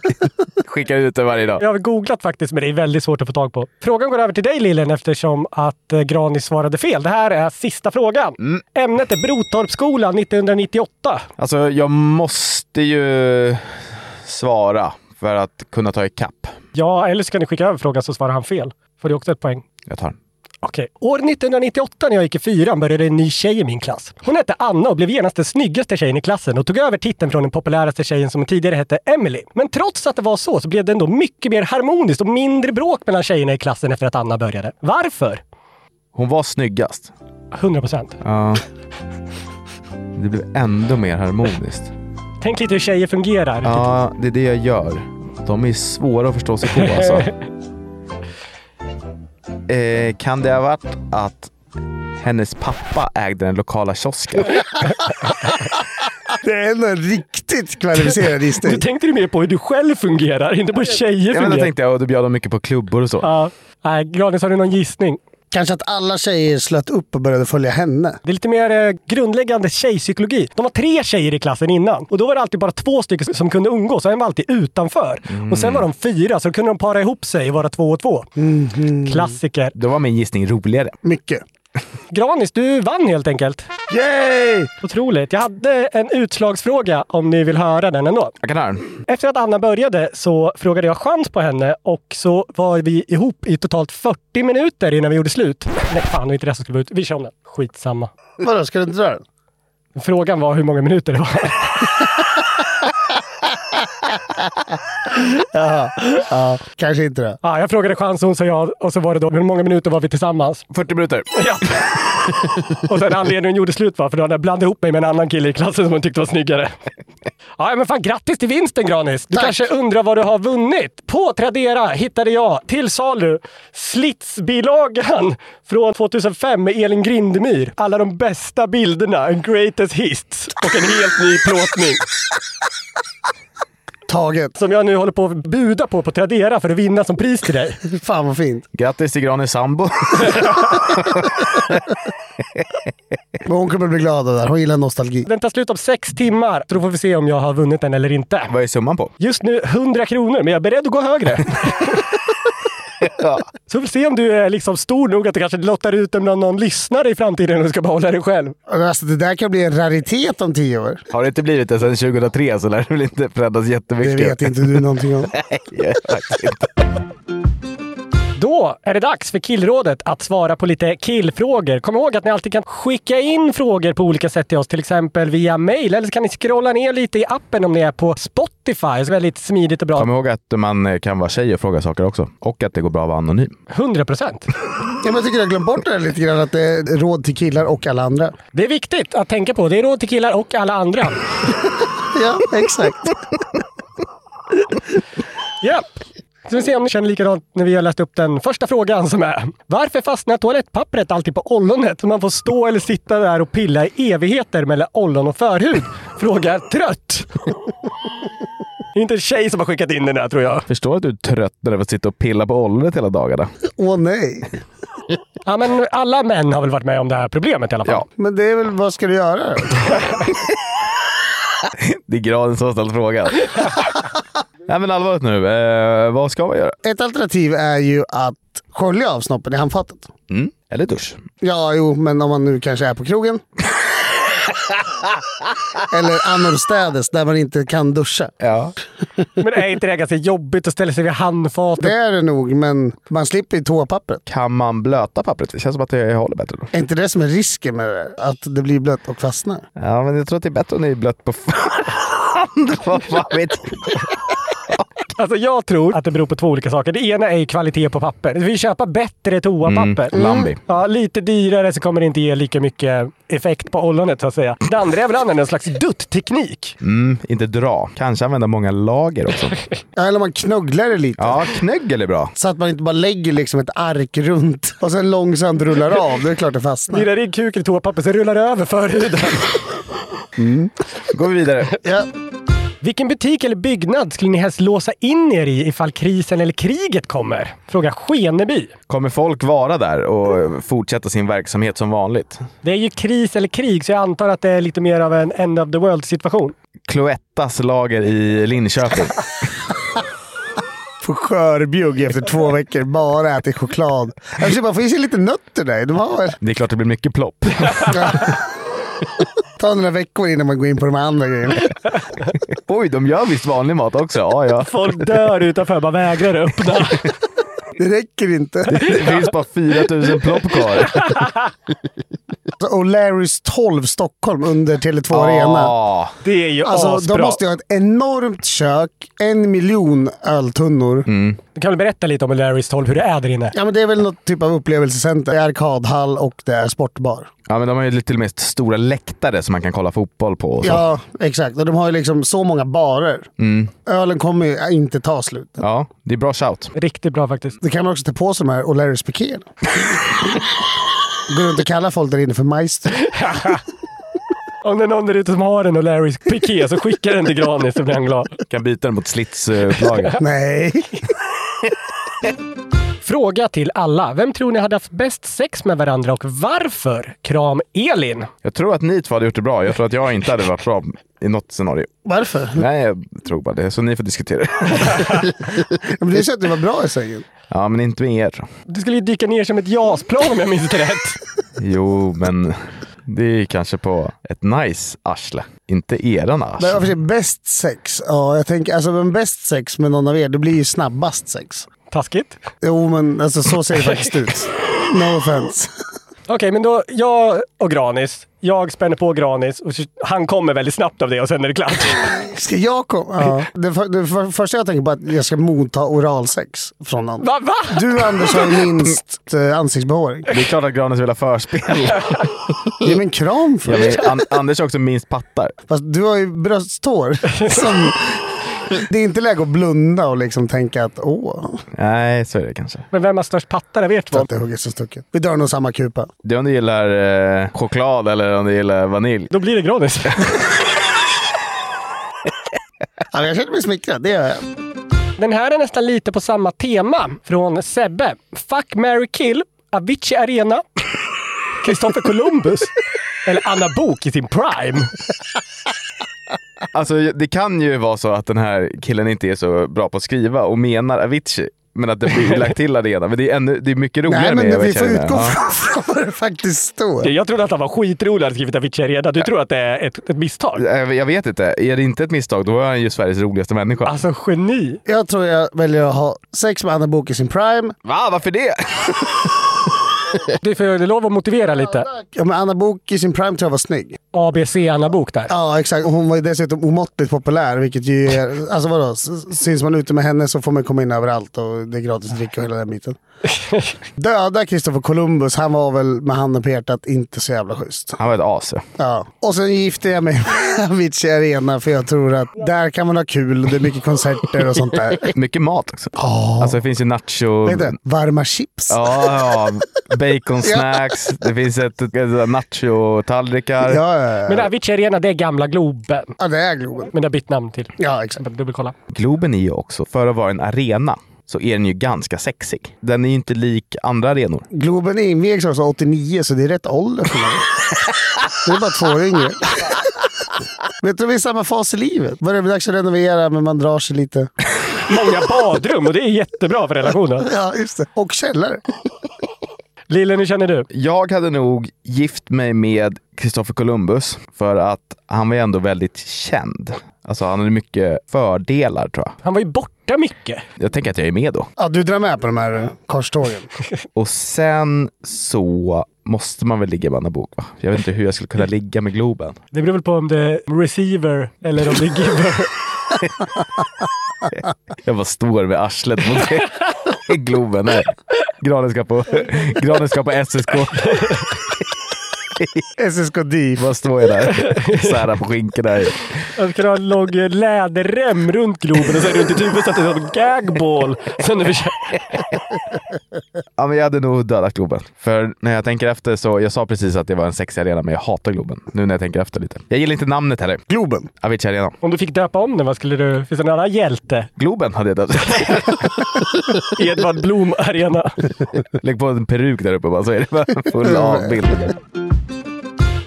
Skickar ut det varje dag.
Jag har googlat faktiskt, men det är väldigt svårt att få tag på. Frågan går över till dig Lillen eftersom att eh, Granis svarade fel. Det här är sista frågan. Ämnet är Brotorpsskolan 1998.
Alltså, jag måste ju svara för att kunna ta ikapp.
Ja, eller så kan ni skicka över frågan så svarar han fel. Får du också ett poäng.
Jag tar den.
Okej. År 1998 när jag gick i fyran började en ny tjej i min klass. Hon hette Anna och blev genast den snyggaste tjejen i klassen och tog över titeln från den populäraste tjejen som tidigare hette Emily. Men trots att det var så så blev det ändå mycket mer harmoniskt och mindre bråk mellan tjejerna i klassen efter att Anna började. Varför?
Hon var snyggast.
100 procent.
Ja. Det blev ändå mer harmoniskt.
Tänk lite hur tjejer fungerar.
Ja, det är det jag gör. De är svåra att förstå sig på alltså. Eh, kan det ha varit att hennes pappa ägde den lokala kiosken?
Det är ändå en riktigt kvalificerad gissning.
Du tänkte ju mer på hur du själv fungerar, inte på hur tjejer
Ja, men
fungerar.
då tänkte jag, och då bjöd de mycket på klubbor och så.
Ja. Nej, Granis, har du någon gissning?
Kanske att alla tjejer slöt upp och började följa henne.
Det är lite mer eh, grundläggande tjejpsykologi. De var tre tjejer i klassen innan och då var det alltid bara två stycken som kunde umgås. En var alltid utanför. Och sen var de fyra, så då kunde de para ihop sig och vara två och två. Klassiker.
Då var min gissning roligare.
Mycket.
Granis, du vann helt enkelt.
Yay!
Otroligt. Jag hade en utslagsfråga om ni vill höra den ändå.
Jag kan ha den.
Efter att Anna började så frågade jag chans på henne och så var vi ihop i totalt 40 minuter innan vi gjorde slut. Nej, fan, det var inte det som skulle vara ut. Vi kör om den. Skitsamma.
Vadå, ska du inte dra den?
Frågan var hur många minuter det var.
Ja, ja, kanske inte det.
Ja, jag frågade chans, hon sa ja och så var det då hur många minuter var vi tillsammans?
40 minuter.
Ja. och sen anledningen gjorde slut var för då hade jag blandat ihop mig med en annan kille i klassen som hon tyckte var snyggare. Ja, men fan grattis till vinsten Granis! Du kanske undrar vad du har vunnit? På Tradera hittade jag till salu Slitsbilagan från 2005 med Elin Grindemyr. Alla de bästa bilderna, en greatest hits och en helt ny plåtning.
Taget.
Som jag nu håller på att buda på på Tradera för att vinna som pris till dig.
Fan vad fint.
Grattis till Granis sambo.
Men hon kommer bli glad av det där. Hon gillar nostalgi.
Den tar slut om sex timmar. Så då får vi se om jag har vunnit den eller inte.
Vad är summan på?
Just nu 100 kronor, men jag är beredd att gå högre.
Ja.
Så vi får se om du är liksom stor nog att du kanske lottar ut den bland någon lyssnare i framtiden och du ska behålla dig själv.
Alltså, det där kan bli en raritet om tio år.
Har det inte blivit det sedan 2003 så lär det väl inte förändras
Det
jättemycket.
vet inte du någonting om.
Nej, faktiskt inte.
Då är det dags för killrådet att svara på lite killfrågor. Kom ihåg att ni alltid kan skicka in frågor på olika sätt till oss, till exempel via mail. Eller så kan ni scrolla ner lite i appen om ni är på Spotify. Så väldigt smidigt och bra.
Kom ihåg att man kan vara tjej och fråga saker också. Och att det går bra att vara anonym.
100 procent.
Ja, men jag tycker jag har glömt bort det där lite grann. Att det är råd till killar och alla andra.
Det är viktigt att tänka på. Det är råd till killar och alla andra.
Ja, exakt.
Japp! Så vi ser om ni känner likadant när vi har läst upp den första frågan som är. Varför fastnar toalettpappret alltid på ollonet? Så man får stå eller sitta där och pilla i evigheter mellan ollon och förhud? Frågar trött. Det är inte en tjej som har skickat in den här tror jag.
Förstår att du är trött när du får sitta och pilla på ollonet hela dagarna.
Åh nej.
Ja, men alla män har väl varit med om det här problemet i alla fall.
Ja.
Men det är väl, vad ska du göra då?
Det är graden som har ställt frågan. Nej men allvarligt nu, eh, vad ska man göra?
Ett alternativ är ju att skölja av snoppen i handfatet.
Mm. Eller dusch.
Ja, jo, men om man nu kanske är på krogen. Eller annorstädes där man inte kan duscha.
Ja.
Men är inte det ganska jobbigt att ställa sig vid handfatet?
Det är det nog, men man slipper ju toapappret.
Kan man blöta pappret? Det känns som att det håller bättre då.
Är inte det som är risken med det? där? Att det blir blött och fastnar?
Ja men jag tror att det är bättre om det är blött på förhand. Vad fan vet jag?
Alltså jag tror att det beror på två olika saker. Det ena är ju kvalitet på papper. Vi köper bättre toapapper.
Mm, Lambi.
Ja, lite dyrare så kommer det inte ge lika mycket effekt på ollonet så att säga. Det andra är väl att använda en slags dutt-teknik.
Mm, inte dra. Kanske använda många lager också.
Ja, Eller man knugglar det lite.
Ja, knögel är bra.
Så att man inte bara lägger liksom ett ark runt och sen långsamt rullar av. Då är det klart det fastnar.
Lirar in kuken i toapapper så rullar det över förhuden.
Då går vi vidare.
Ja.
Vilken butik eller byggnad skulle ni helst låsa in er i ifall krisen eller kriget kommer? Fråga Skeneby.
Kommer folk vara där och fortsätta sin verksamhet som vanligt?
Det är ju kris eller krig så jag antar att det är lite mer av en end of the world situation.
Cloettas lager i Linköping.
Får skörbjugg efter två veckor. Bara ätit choklad. Alltså, Jag försöker bara få i sig lite nötter där. De har väl...
Det är klart det blir mycket plopp.
Ta några veckor innan man går in på de andra grejerna.
Oj, de gör visst vanlig mat också. Ja, ja.
Folk dör utanför, bara vägrar öppna.
Det räcker inte. Alltså,
Det finns bara 4000 plopp kvar.
och Larrys 12 Stockholm under Tele2 Arena.
Det är ju
Alltså,
asbra.
de måste ju ha ett enormt kök, en miljon öltunnor.
Mm.
Du kan väl berätta lite om Larrys 12, hur det är där inne?
Ja, men det är väl något typ av upplevelsecenter. Det är arkadhall och det är sportbar.
Ja, men de har ju till och med stora läktare som man kan kolla fotboll på. Och så.
Ja, exakt. Och de har ju liksom så många barer.
Mm.
Ölen kommer ju inte ta slut.
ja, det är bra shout.
Riktigt bra faktiskt.
Det kan man också ta på sig de här O'Larrys pikéerna. Går runt och kallar folk där inne för maestro.
Om det är någon där ute som har en O'Larrys piké så skicka den till Granis så blir han glad.
Kan byta den mot slitsupplagan.
Nej.
Fråga till alla. Vem tror ni hade haft bäst sex med varandra och varför? Kram Elin.
Jag tror att ni två hade gjort det bra. Jag tror att jag inte hade varit bra i något scenario.
Varför?
Nej, jag tror bara det. Så ni får diskutera.
Men det är så att det var bra i sängen.
Ja, men inte med er.
Du skulle ju dyka ner som ett JAS-plan om jag minns rätt.
Jo, men det är kanske på ett nice arsle. Inte eran
Men
arsle.
varför är bäst sex? Ja, jag tänker alltså men bäst sex med någon av er, det blir ju snabbast sex.
Taskigt.
Jo, men alltså så ser det faktiskt ut. No offense.
Okej, men då jag och Granis. Jag spänner på Granis och han kommer väldigt snabbt av det och sen är det klart.
Ska jag komma? Ja. Det, för, det för, första jag tänker på är att jag ska motta oralsex från någon.
Va, va?
Du Anders har ju minst eh, ansiktsbehåring.
Det är klart att Granis vill ha förspel.
Ge mig en kram
Ja,
först.
men An- Anders har också minst pattar.
Fast du har ju brösthår. Som, det är inte läge att blunda och liksom tänka att åh,
Nej, så är det kanske.
Men vem har störst pattar av er
så
två?
att det är hugget som stucket. Vi drar nog samma kupa.
Det är om du gillar eh, choklad eller om du gillar vanilj.
Då blir det Granis.
Ja, men jag känner mig smickrad, det gör jag.
Den här är nästan lite på samma tema från Sebbe. Fuck, Mary kill, Avicii Arena, Kristoffer Columbus eller Anna Bok i sin prime.
Alltså, det kan ju vara så att den här killen inte är så bra på att skriva och menar Avicii. Men att det blir lagt till arena. Men det är, ännu, det är mycket
Nej,
roligare
men
med
det, vi får
Avicii Arena.
utgå
Ja.
från från vad det faktiskt står.
Jag trodde att han var skitrolig att skrivit Avicii Arena. Du tror att det är ett, ett misstag?
Eh, Jag- Jag vet inte. Är det inte ett misstag, då är han ju Sveriges roligaste människa.
Alltså geni!
Jag tror jag väljer att ha sex med Anna Book i sin prime.
Va? Varför det?
Du får lov att motivera lite.
Ja, men Anna Book i sin prime tror jag var snygg.
ABC Anna Bok där.
Ja, exakt. Och Hon var ju dessutom omåttligt populär, vilket ju är... Alltså vadå? S- Syns man ute med henne så får man komma in överallt och det är gratis dricka och hela den biten. Döda Christopher Columbus, han var väl med handen på hjärtat inte så jävla schysst.
Han var ett as. ja.
Ja. Och sen gifte jag mig med Avicii Arena för jag tror att där kan man ha kul och det är mycket konserter och sånt där.
Mycket mat också. Alltså det finns ju nacho...
Vet du, varma chips.
Ja, ja. Bacon snacks. Det finns ett, ett, ett nacho-tallrikar.
Ja, ja, ja.
Men Avicii Arena, det är gamla Globen.
ja det är Globen.
Men det har bytt namn till.
Ja, exakt.
Dubbelkolla.
Globen är ju också, för att vara en arena, så är den ju ganska sexig. Den är ju inte lik andra arenor.
Globen invigs alltså 89, så det är rätt ålder för mig. Det är bara två år yngre. Vet du, vi är i samma fas i livet. Börjar bli dags att renovera, men man drar sig lite.
Många badrum och det är jättebra för relationen.
Ja, just det. Och källare.
Lille, hur känner du?
Jag hade nog gift mig med Christopher Columbus för att han var ju ändå väldigt känd. Alltså han hade mycket fördelar tror jag.
Han var ju borta mycket.
Jag tänker att jag är med då.
Ja, du drar med på de här eh, korstågen.
Och sen så måste man väl ligga med Anna Bok va? Jag vet inte hur jag skulle kunna ligga med Globen.
Det beror väl på om det är receiver eller om det är giver.
Jag bara står med arslet mot det. Globen. Nej. Granen ska på, granen ska på SSK.
SSK DIF.
Bara står jag där. Särar på skinkorna.
Jag skulle ha en lång eh, läderrem runt Globen och sen runt i huvudet så att det är som gagball. Sen är vi kö-
Ja, men jag hade nog dödat Globen. För när jag tänker efter så, jag sa precis att det var en sexig arena, men jag hatar Globen. Nu när jag tänker efter lite. Jag gillar inte namnet heller.
Globen.
Avicii Arena.
Om du fick döpa om den, vad skulle du... Finns det någon annan hjälte?
Globen hade jag döpt.
Edvard Blom Arena.
Lägg på en peruk där uppe bara så är det bara full avbild.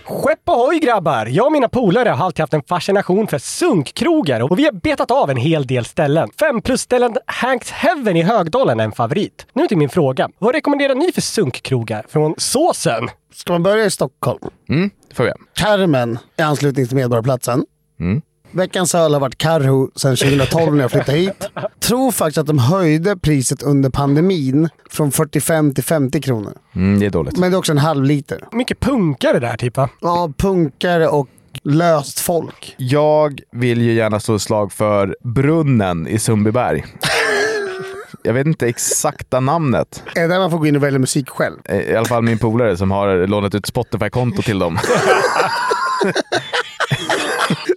Skepp ohoj grabbar! Jag och mina polare har alltid haft en fascination för sunkkrogar och vi har betat av en hel del ställen. Fem plus-ställen Hanks Heaven i Högdalen är en favorit. Nu till min fråga. Vad rekommenderar ni för sunkkrogar från såsen?
Ska man börja i Stockholm?
Mm, det får vi.
Carmen i anslutning till Medborgarplatsen.
Mm.
Veckans öl har varit Karho sedan 2012 när jag flyttade hit. tror faktiskt att de höjde priset under pandemin från 45 till 50 kronor.
Mm, det är dåligt.
Men det är också en halv liter.
Mycket punkare där typ va?
Ja, punkare och löst folk.
Jag vill ju gärna slå ett slag för brunnen i Sundbyberg. Jag vet inte exakta namnet. Eh,
Är det där man får gå in och välja musik själv?
I alla fall min polare som har lånat ut Spotify-konto till dem.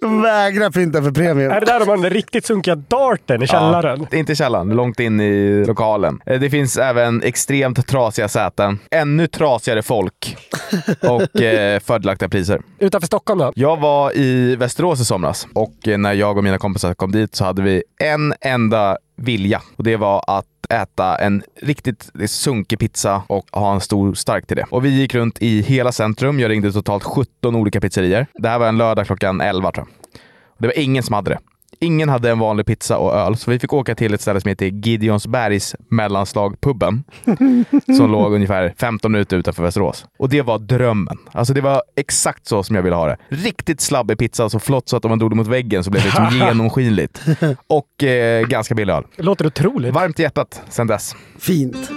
De vägrar pynta för premium.
Är det där de har den riktigt sunkiga darten i källaren?
Ja, inte i källaren, långt in i lokalen. Eh, Det finns även extremt trasiga säten, ännu trasigare folk och eh, fördelaktiga priser.
Utanför Stockholm då?
Jag var i Västerås i somras och eh, när jag och mina kompisar kom dit så hade vi en enda vilja och det var att äta en riktigt sunkig pizza och ha en stor stark till det. Och vi gick runt i hela centrum. Jag ringde totalt 17 olika pizzerier. Det här var en lördag klockan 11 tror jag. Och Det var ingen som hade det. Ingen hade en vanlig pizza och öl, så vi fick åka till ett ställe som heter Gideonsbergs mellanslag pubben som låg ungefär 15 minuter utanför Västerås. Och det var drömmen. Alltså det var exakt så som jag ville ha det. Riktigt slabbig pizza, så flott så att om man drog det mot väggen så blev det liksom genomskinligt. Och eh, ganska billig öl.
Låter otroligt.
Varmt i hjärtat sen dess.
Fint.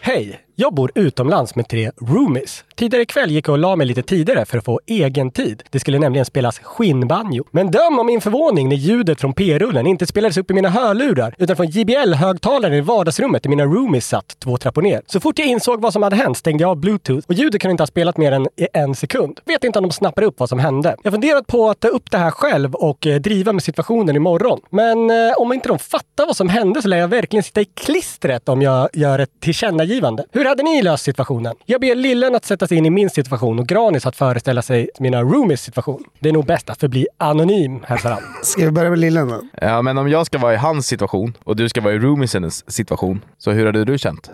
Hej! Jag bor utomlands med tre roomies. Tidigare ikväll gick jag och la mig lite tidigare för att få egen tid. Det skulle nämligen spelas skinnbanjo. Men döm om min förvåning när ljudet från p-rullen inte spelades upp i mina hörlurar utan från JBL-högtalaren i vardagsrummet där mina roomies satt två trappor ner. Så fort jag insåg vad som hade hänt stängde jag av bluetooth och ljudet kunde inte ha spelat mer än i en sekund. Vet inte om de snappade upp vad som hände. Jag funderat på att ta upp det här själv och eh, driva med situationen imorgon. Men eh, om inte de fattar vad som hände så lär jag verkligen sitta i klistret om jag gör ett tillkännagivande. Hur hade ni löst situationen? Jag ber lillen att sätta sig in i min situation och Granis att föreställa sig mina roomies situation. Det är nog bäst att förbli anonym, hälsar han.
Ska vi börja med lillen då?
Ja, men om jag ska vara i hans situation och du ska vara i roomiesens situation, så hur hade du känt?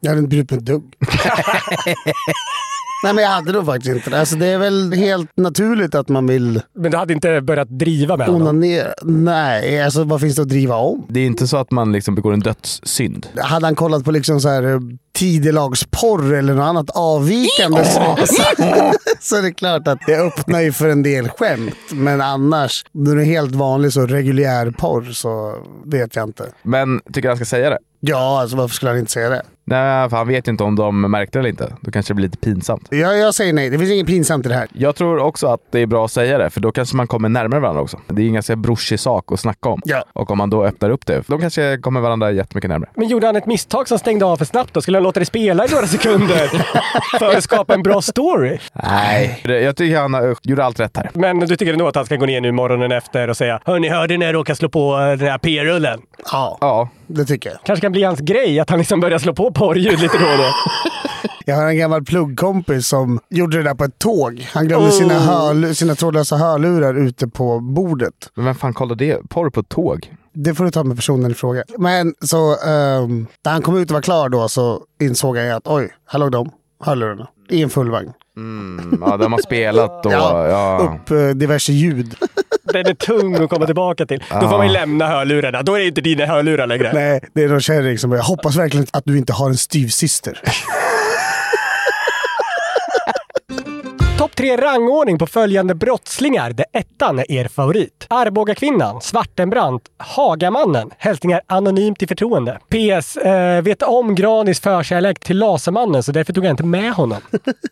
Jag hade inte brytt mig ett dugg. Nej men jag hade nog faktiskt inte det. Alltså, det är väl helt naturligt att man vill
Men du hade inte börjat driva med honom?
onanera. Nej, alltså vad finns det att driva om?
Det är inte så att man liksom begår en dödssynd.
Hade han kollat på liksom så här eh, tidelagsporr eller något annat avvikande så, så, så är det klart att det öppnar ju för en del skämt. Men annars, när det är helt vanlig så reguljär porr så vet jag inte.
Men tycker han ska säga det?
Ja, alltså varför skulle han inte säga det?
Nej, för han vet ju inte om de märkte det eller inte. Då kanske det blir lite pinsamt.
Jag, jag säger nej, det finns inget pinsamt i det här.
Jag tror också att det är bra att säga det, för då kanske man kommer närmare varandra också. Det är ju en ganska brorsig sak att snacka om.
Ja.
Och om man då öppnar upp det, då kanske kommer varandra jättemycket närmare.
Men gjorde han ett misstag som stängde av för snabbt då? Skulle han låta det spela i några sekunder för att skapa en bra story?
Nej. Jag tycker han har- gjorde allt rätt här.
Men du tycker ändå att han ska gå ner nu morgonen efter och säga “Hörni, hörde ni när jag råkade slå på eh, den här p-rullen?”
Ja,
Ja.
det tycker jag.
Kanske kan bli hans grej att han liksom börjar slå på porrljud lite då och då.
Jag har en gammal pluggkompis som gjorde det där på ett tåg. Han glömde sina, hörlu- sina trådlösa hörlurar ute på bordet.
Men vem fan kollar det? Porr på ett tåg?
Det får du ta med personen i fråga. Men så ehm, när han kom ut och var klar då så insåg jag att oj, här låg de hörlurarna i en full vagn.
Mm, ja, de har spelat och...
Ja,
Ja.
Upp eh, diverse ljud.
Den är tung att komma tillbaka till. Då får man ju lämna hörlurarna. Då är det inte dina hörlurar längre.
Nej, det är någon kärring som bara, jag hoppas verkligen att du inte har en styvsyster.
Topp tre rangordning på följande brottslingar där ettan är er favorit. Arbogakvinnan, Svartenbrandt, Hagamannen. Hälsningar anonymt i förtroende. PS. Eh, vet om Granis förkärlek till Lasermannen så därför tog jag inte med honom.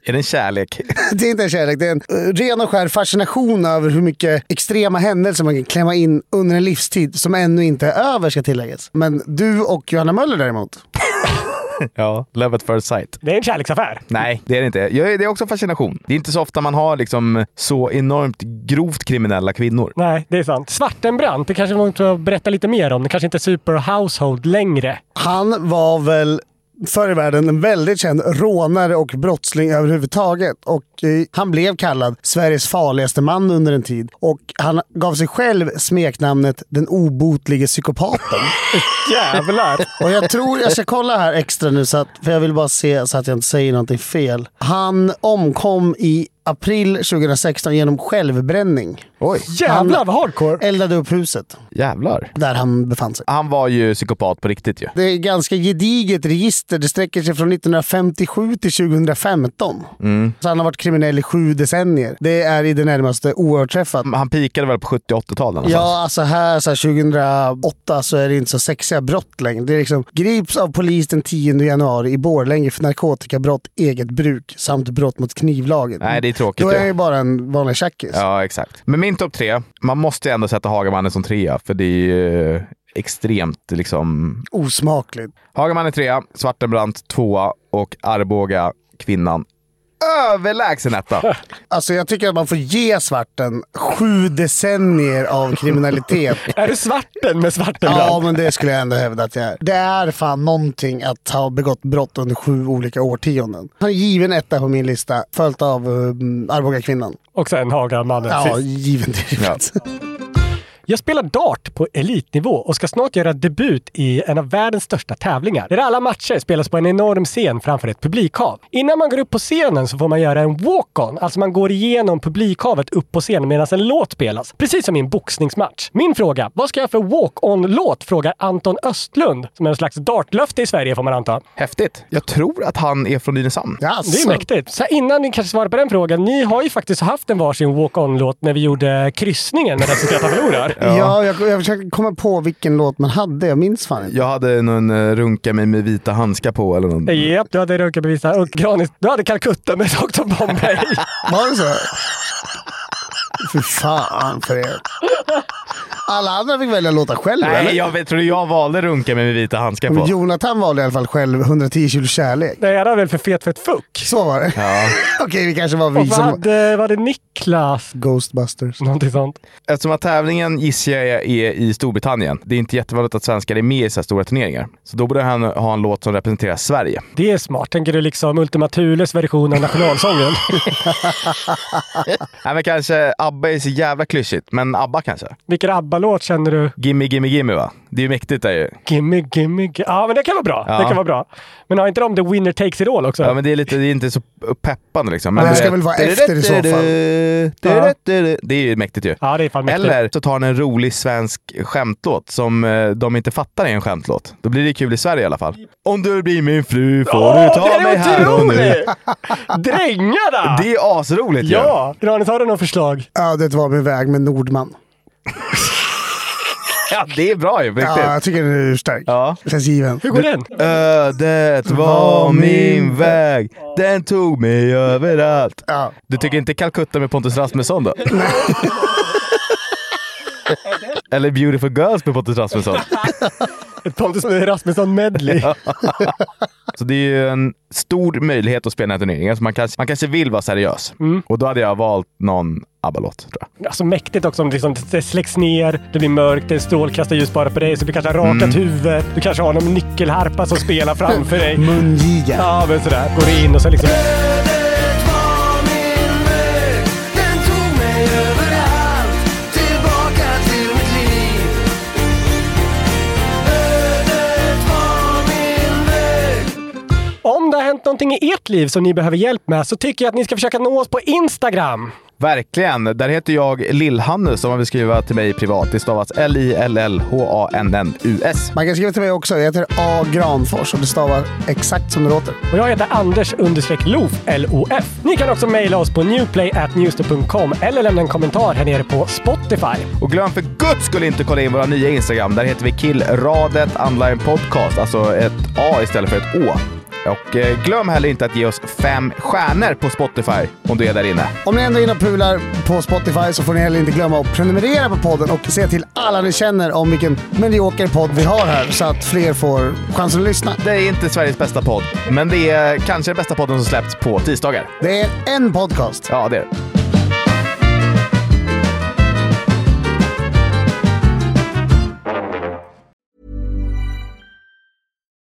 Är det en kärlek?
det är inte en kärlek, det är en eh, ren och skär fascination över hur mycket extrema händelser man kan klämma in under en livstid som ännu inte är över ska tilläggas. Men du och Johanna Möller däremot.
ja. Love at first sight.
Det är en kärleksaffär.
Nej, det är det inte. Jag, det är också fascination. Det är inte så ofta man har liksom så enormt grovt kriminella kvinnor.
Nej, det är sant. Svartenbrandt, det kanske man får berätta lite mer om. Det kanske inte är super household längre.
Han var väl förr i världen en väldigt känd rånare och brottsling överhuvudtaget. Och eh, Han blev kallad Sveriges farligaste man under en tid. Och Han gav sig själv smeknamnet den obotlige psykopaten.
Jävlar!
Och jag tror jag ska kolla här extra nu, så att, för jag vill bara se så att jag inte säger någonting fel. Han omkom i april 2016 genom självbränning.
Oj.
Jävlar,
vad hardcore! Eldade upp huset.
Jävlar.
Där han befann sig.
Han var ju psykopat på riktigt ju.
Det är ett ganska gediget register. Det sträcker sig från 1957 till 2015.
Mm.
Så han har varit kriminell i sju decennier. Det är i det närmaste oöverträffat.
Han pikade väl på 70 80-talen?
Ja, alltså här så här 2008 så är det inte så sexiga brott längre. Det är liksom grips av polis den 10 januari i Borlänge för narkotikabrott, eget bruk samt brott mot knivlagen.
Nej, det är tråkigt
Då
ju.
är han ju bara en vanlig tjackis.
Ja, exakt. Men min topp tre, man måste ju ändå sätta Hagamannen som trea, för det är ju eh, extremt liksom...
Osmakligt.
Hagamannen trea, Svartenbrandt tvåa och Arboga, kvinnan, överlägsen etta.
Alltså jag tycker att man får ge svarten sju decennier av kriminalitet.
Är du svarten med svarten?
Ja, men det skulle jag ändå hävda att jag är. Det är fan någonting att ha begått brott under sju olika årtionden. Han är given etta på min lista, följt av um, Arboga-kvinnan.
Och sen Hagamannen
Ja,
sist.
given direkt.
Jag spelar dart på elitnivå och ska snart göra debut i en av världens största tävlingar. Där alla matcher spelas på en enorm scen framför ett publikhav. Innan man går upp på scenen så får man göra en walk-on, alltså man går igenom publikhavet upp på scenen medan en låt spelas. Precis som i en boxningsmatch. Min fråga, vad ska jag för walk-on-låt? Frågar Anton Östlund, som är en slags dartlöfte i Sverige får man anta.
Häftigt. Jag tror att han är från Nynäshamn.
Det
alltså,
är mäktigt. Så här, innan ni kanske svarar på den frågan. Ni har ju faktiskt haft en varsin walk-on-låt när vi gjorde kryssningen med Den som skrattar förlorar.
Ja, jag, jag försöker komma på vilken låt man hade. Jag minns fan inte.
Jag hade någon eh, runka mig med vita handskar på eller någon.
Japp, du hade Rönkebys och Granis. Du hade Calcutta med Dr. Bombay.
Var det så? Fy fan för er. Alla andra fick välja låtar själv, eller?
Nej, jag vet, tror du jag valde runka mig med vita handskar på?
Jonathan valde i alla fall själv 110 kilo kärlek.
Nej, han är väl för fet för ett fuck.
Så var det.
Ja.
Okej, det kanske var
Och
vi
vad
som...
hade, vad hade Niklas?
Ghostbusters.
Någonting sånt.
Eftersom att tävlingen gissar jag är i Storbritannien. Det är inte jättevanligt att svenskar är med i så här stora turneringar. Så då borde han ha en låt som representerar Sverige.
Det är smart. Tänker du liksom Ultima Thules version av nationalsången?
Nej men kanske ABBA är så jävla klyschigt, men ABBA kanske?
Vilken ABBA-låt känner du?
Gimme Gimme Gimme va? Det är ju mäktigt där ju.
Gimme, gimme, gimme. Ja, men det kan vara bra.
Ja.
Det kan vara bra. Men har inte de The Winner Takes It All också?
Ja men det är, lite, det är inte så peppande liksom. Men
Det här
du
ska
vet-
väl vara efter i så fall.
Ja. Det är ju mäktigt ju.
Ja, det är fan mäktigt.
Eller så tar han en rolig svensk skämtlåt som eh, de inte fattar är en skämtlåt. Då blir det kul i Sverige i alla fall. Om du blir min fru får du
den
ta
är
mig här och nu.
otrolig! Drängarna!
Det är asroligt ju.
Ja! Granis, har du något förslag?
Ödet var min väg med Nordman.
Ja, det är bra ju. på
Ja, jag
Riktigt.
tycker den är urstark.
Ja.
Känns given.
Hur går den?
Ödet var min väg, den tog mig överallt.
Ja.
Du tycker inte Calcutta med Pontus Rasmusson då? Eller Beautiful Girls med Pontus Rasmusson?
Ett Pontus Rasmusson-medley.
Så det är ju en stor möjlighet att spela den här turneringen. Så man, kanske, man kanske vill vara seriös. Och då hade jag valt någon ABBA-låt tror jag.
Alltså mäktigt också om det, liksom, det släcks ner, det blir mörkt, det är strålkastarljus bara på dig, så du kanske har rakat huvud, du kanske har någon nyckelharpa som spelar framför dig.
Mm. Mungiga.
Ja, men sådär. Går in och så liksom... Om det har hänt någonting i ert liv som ni behöver hjälp med så tycker jag att ni ska försöka nå oss på Instagram.
Verkligen! Där heter jag Lill-Hannes om man vill skriva till mig privat. Det stavas L-I-L-L-H-A-N-N-U-S.
Man kan skriva till mig också. Jag heter A. Granfors och det stavar exakt som det låter.
Och jag heter Anders understreck Loof, L-O-F. Ni kan också mejla oss på newplay.newster.com eller lämna en kommentar här nere på Spotify.
Och glöm för guds skull inte kolla in våra nya Instagram. Där heter vi Killradet Online Podcast. Alltså ett A istället för ett Å. Och eh, glöm heller inte att ge oss fem stjärnor på Spotify om du är där inne.
Om ni ändå är inne och pular på Spotify så får ni heller inte glömma att prenumerera på podden och se till alla ni känner om vilken medioker podd vi har här så att fler får chansen att lyssna.
Det är inte Sveriges bästa podd, men det är kanske den bästa podden som släppts på tisdagar.
Det är en podcast.
Ja, det är det.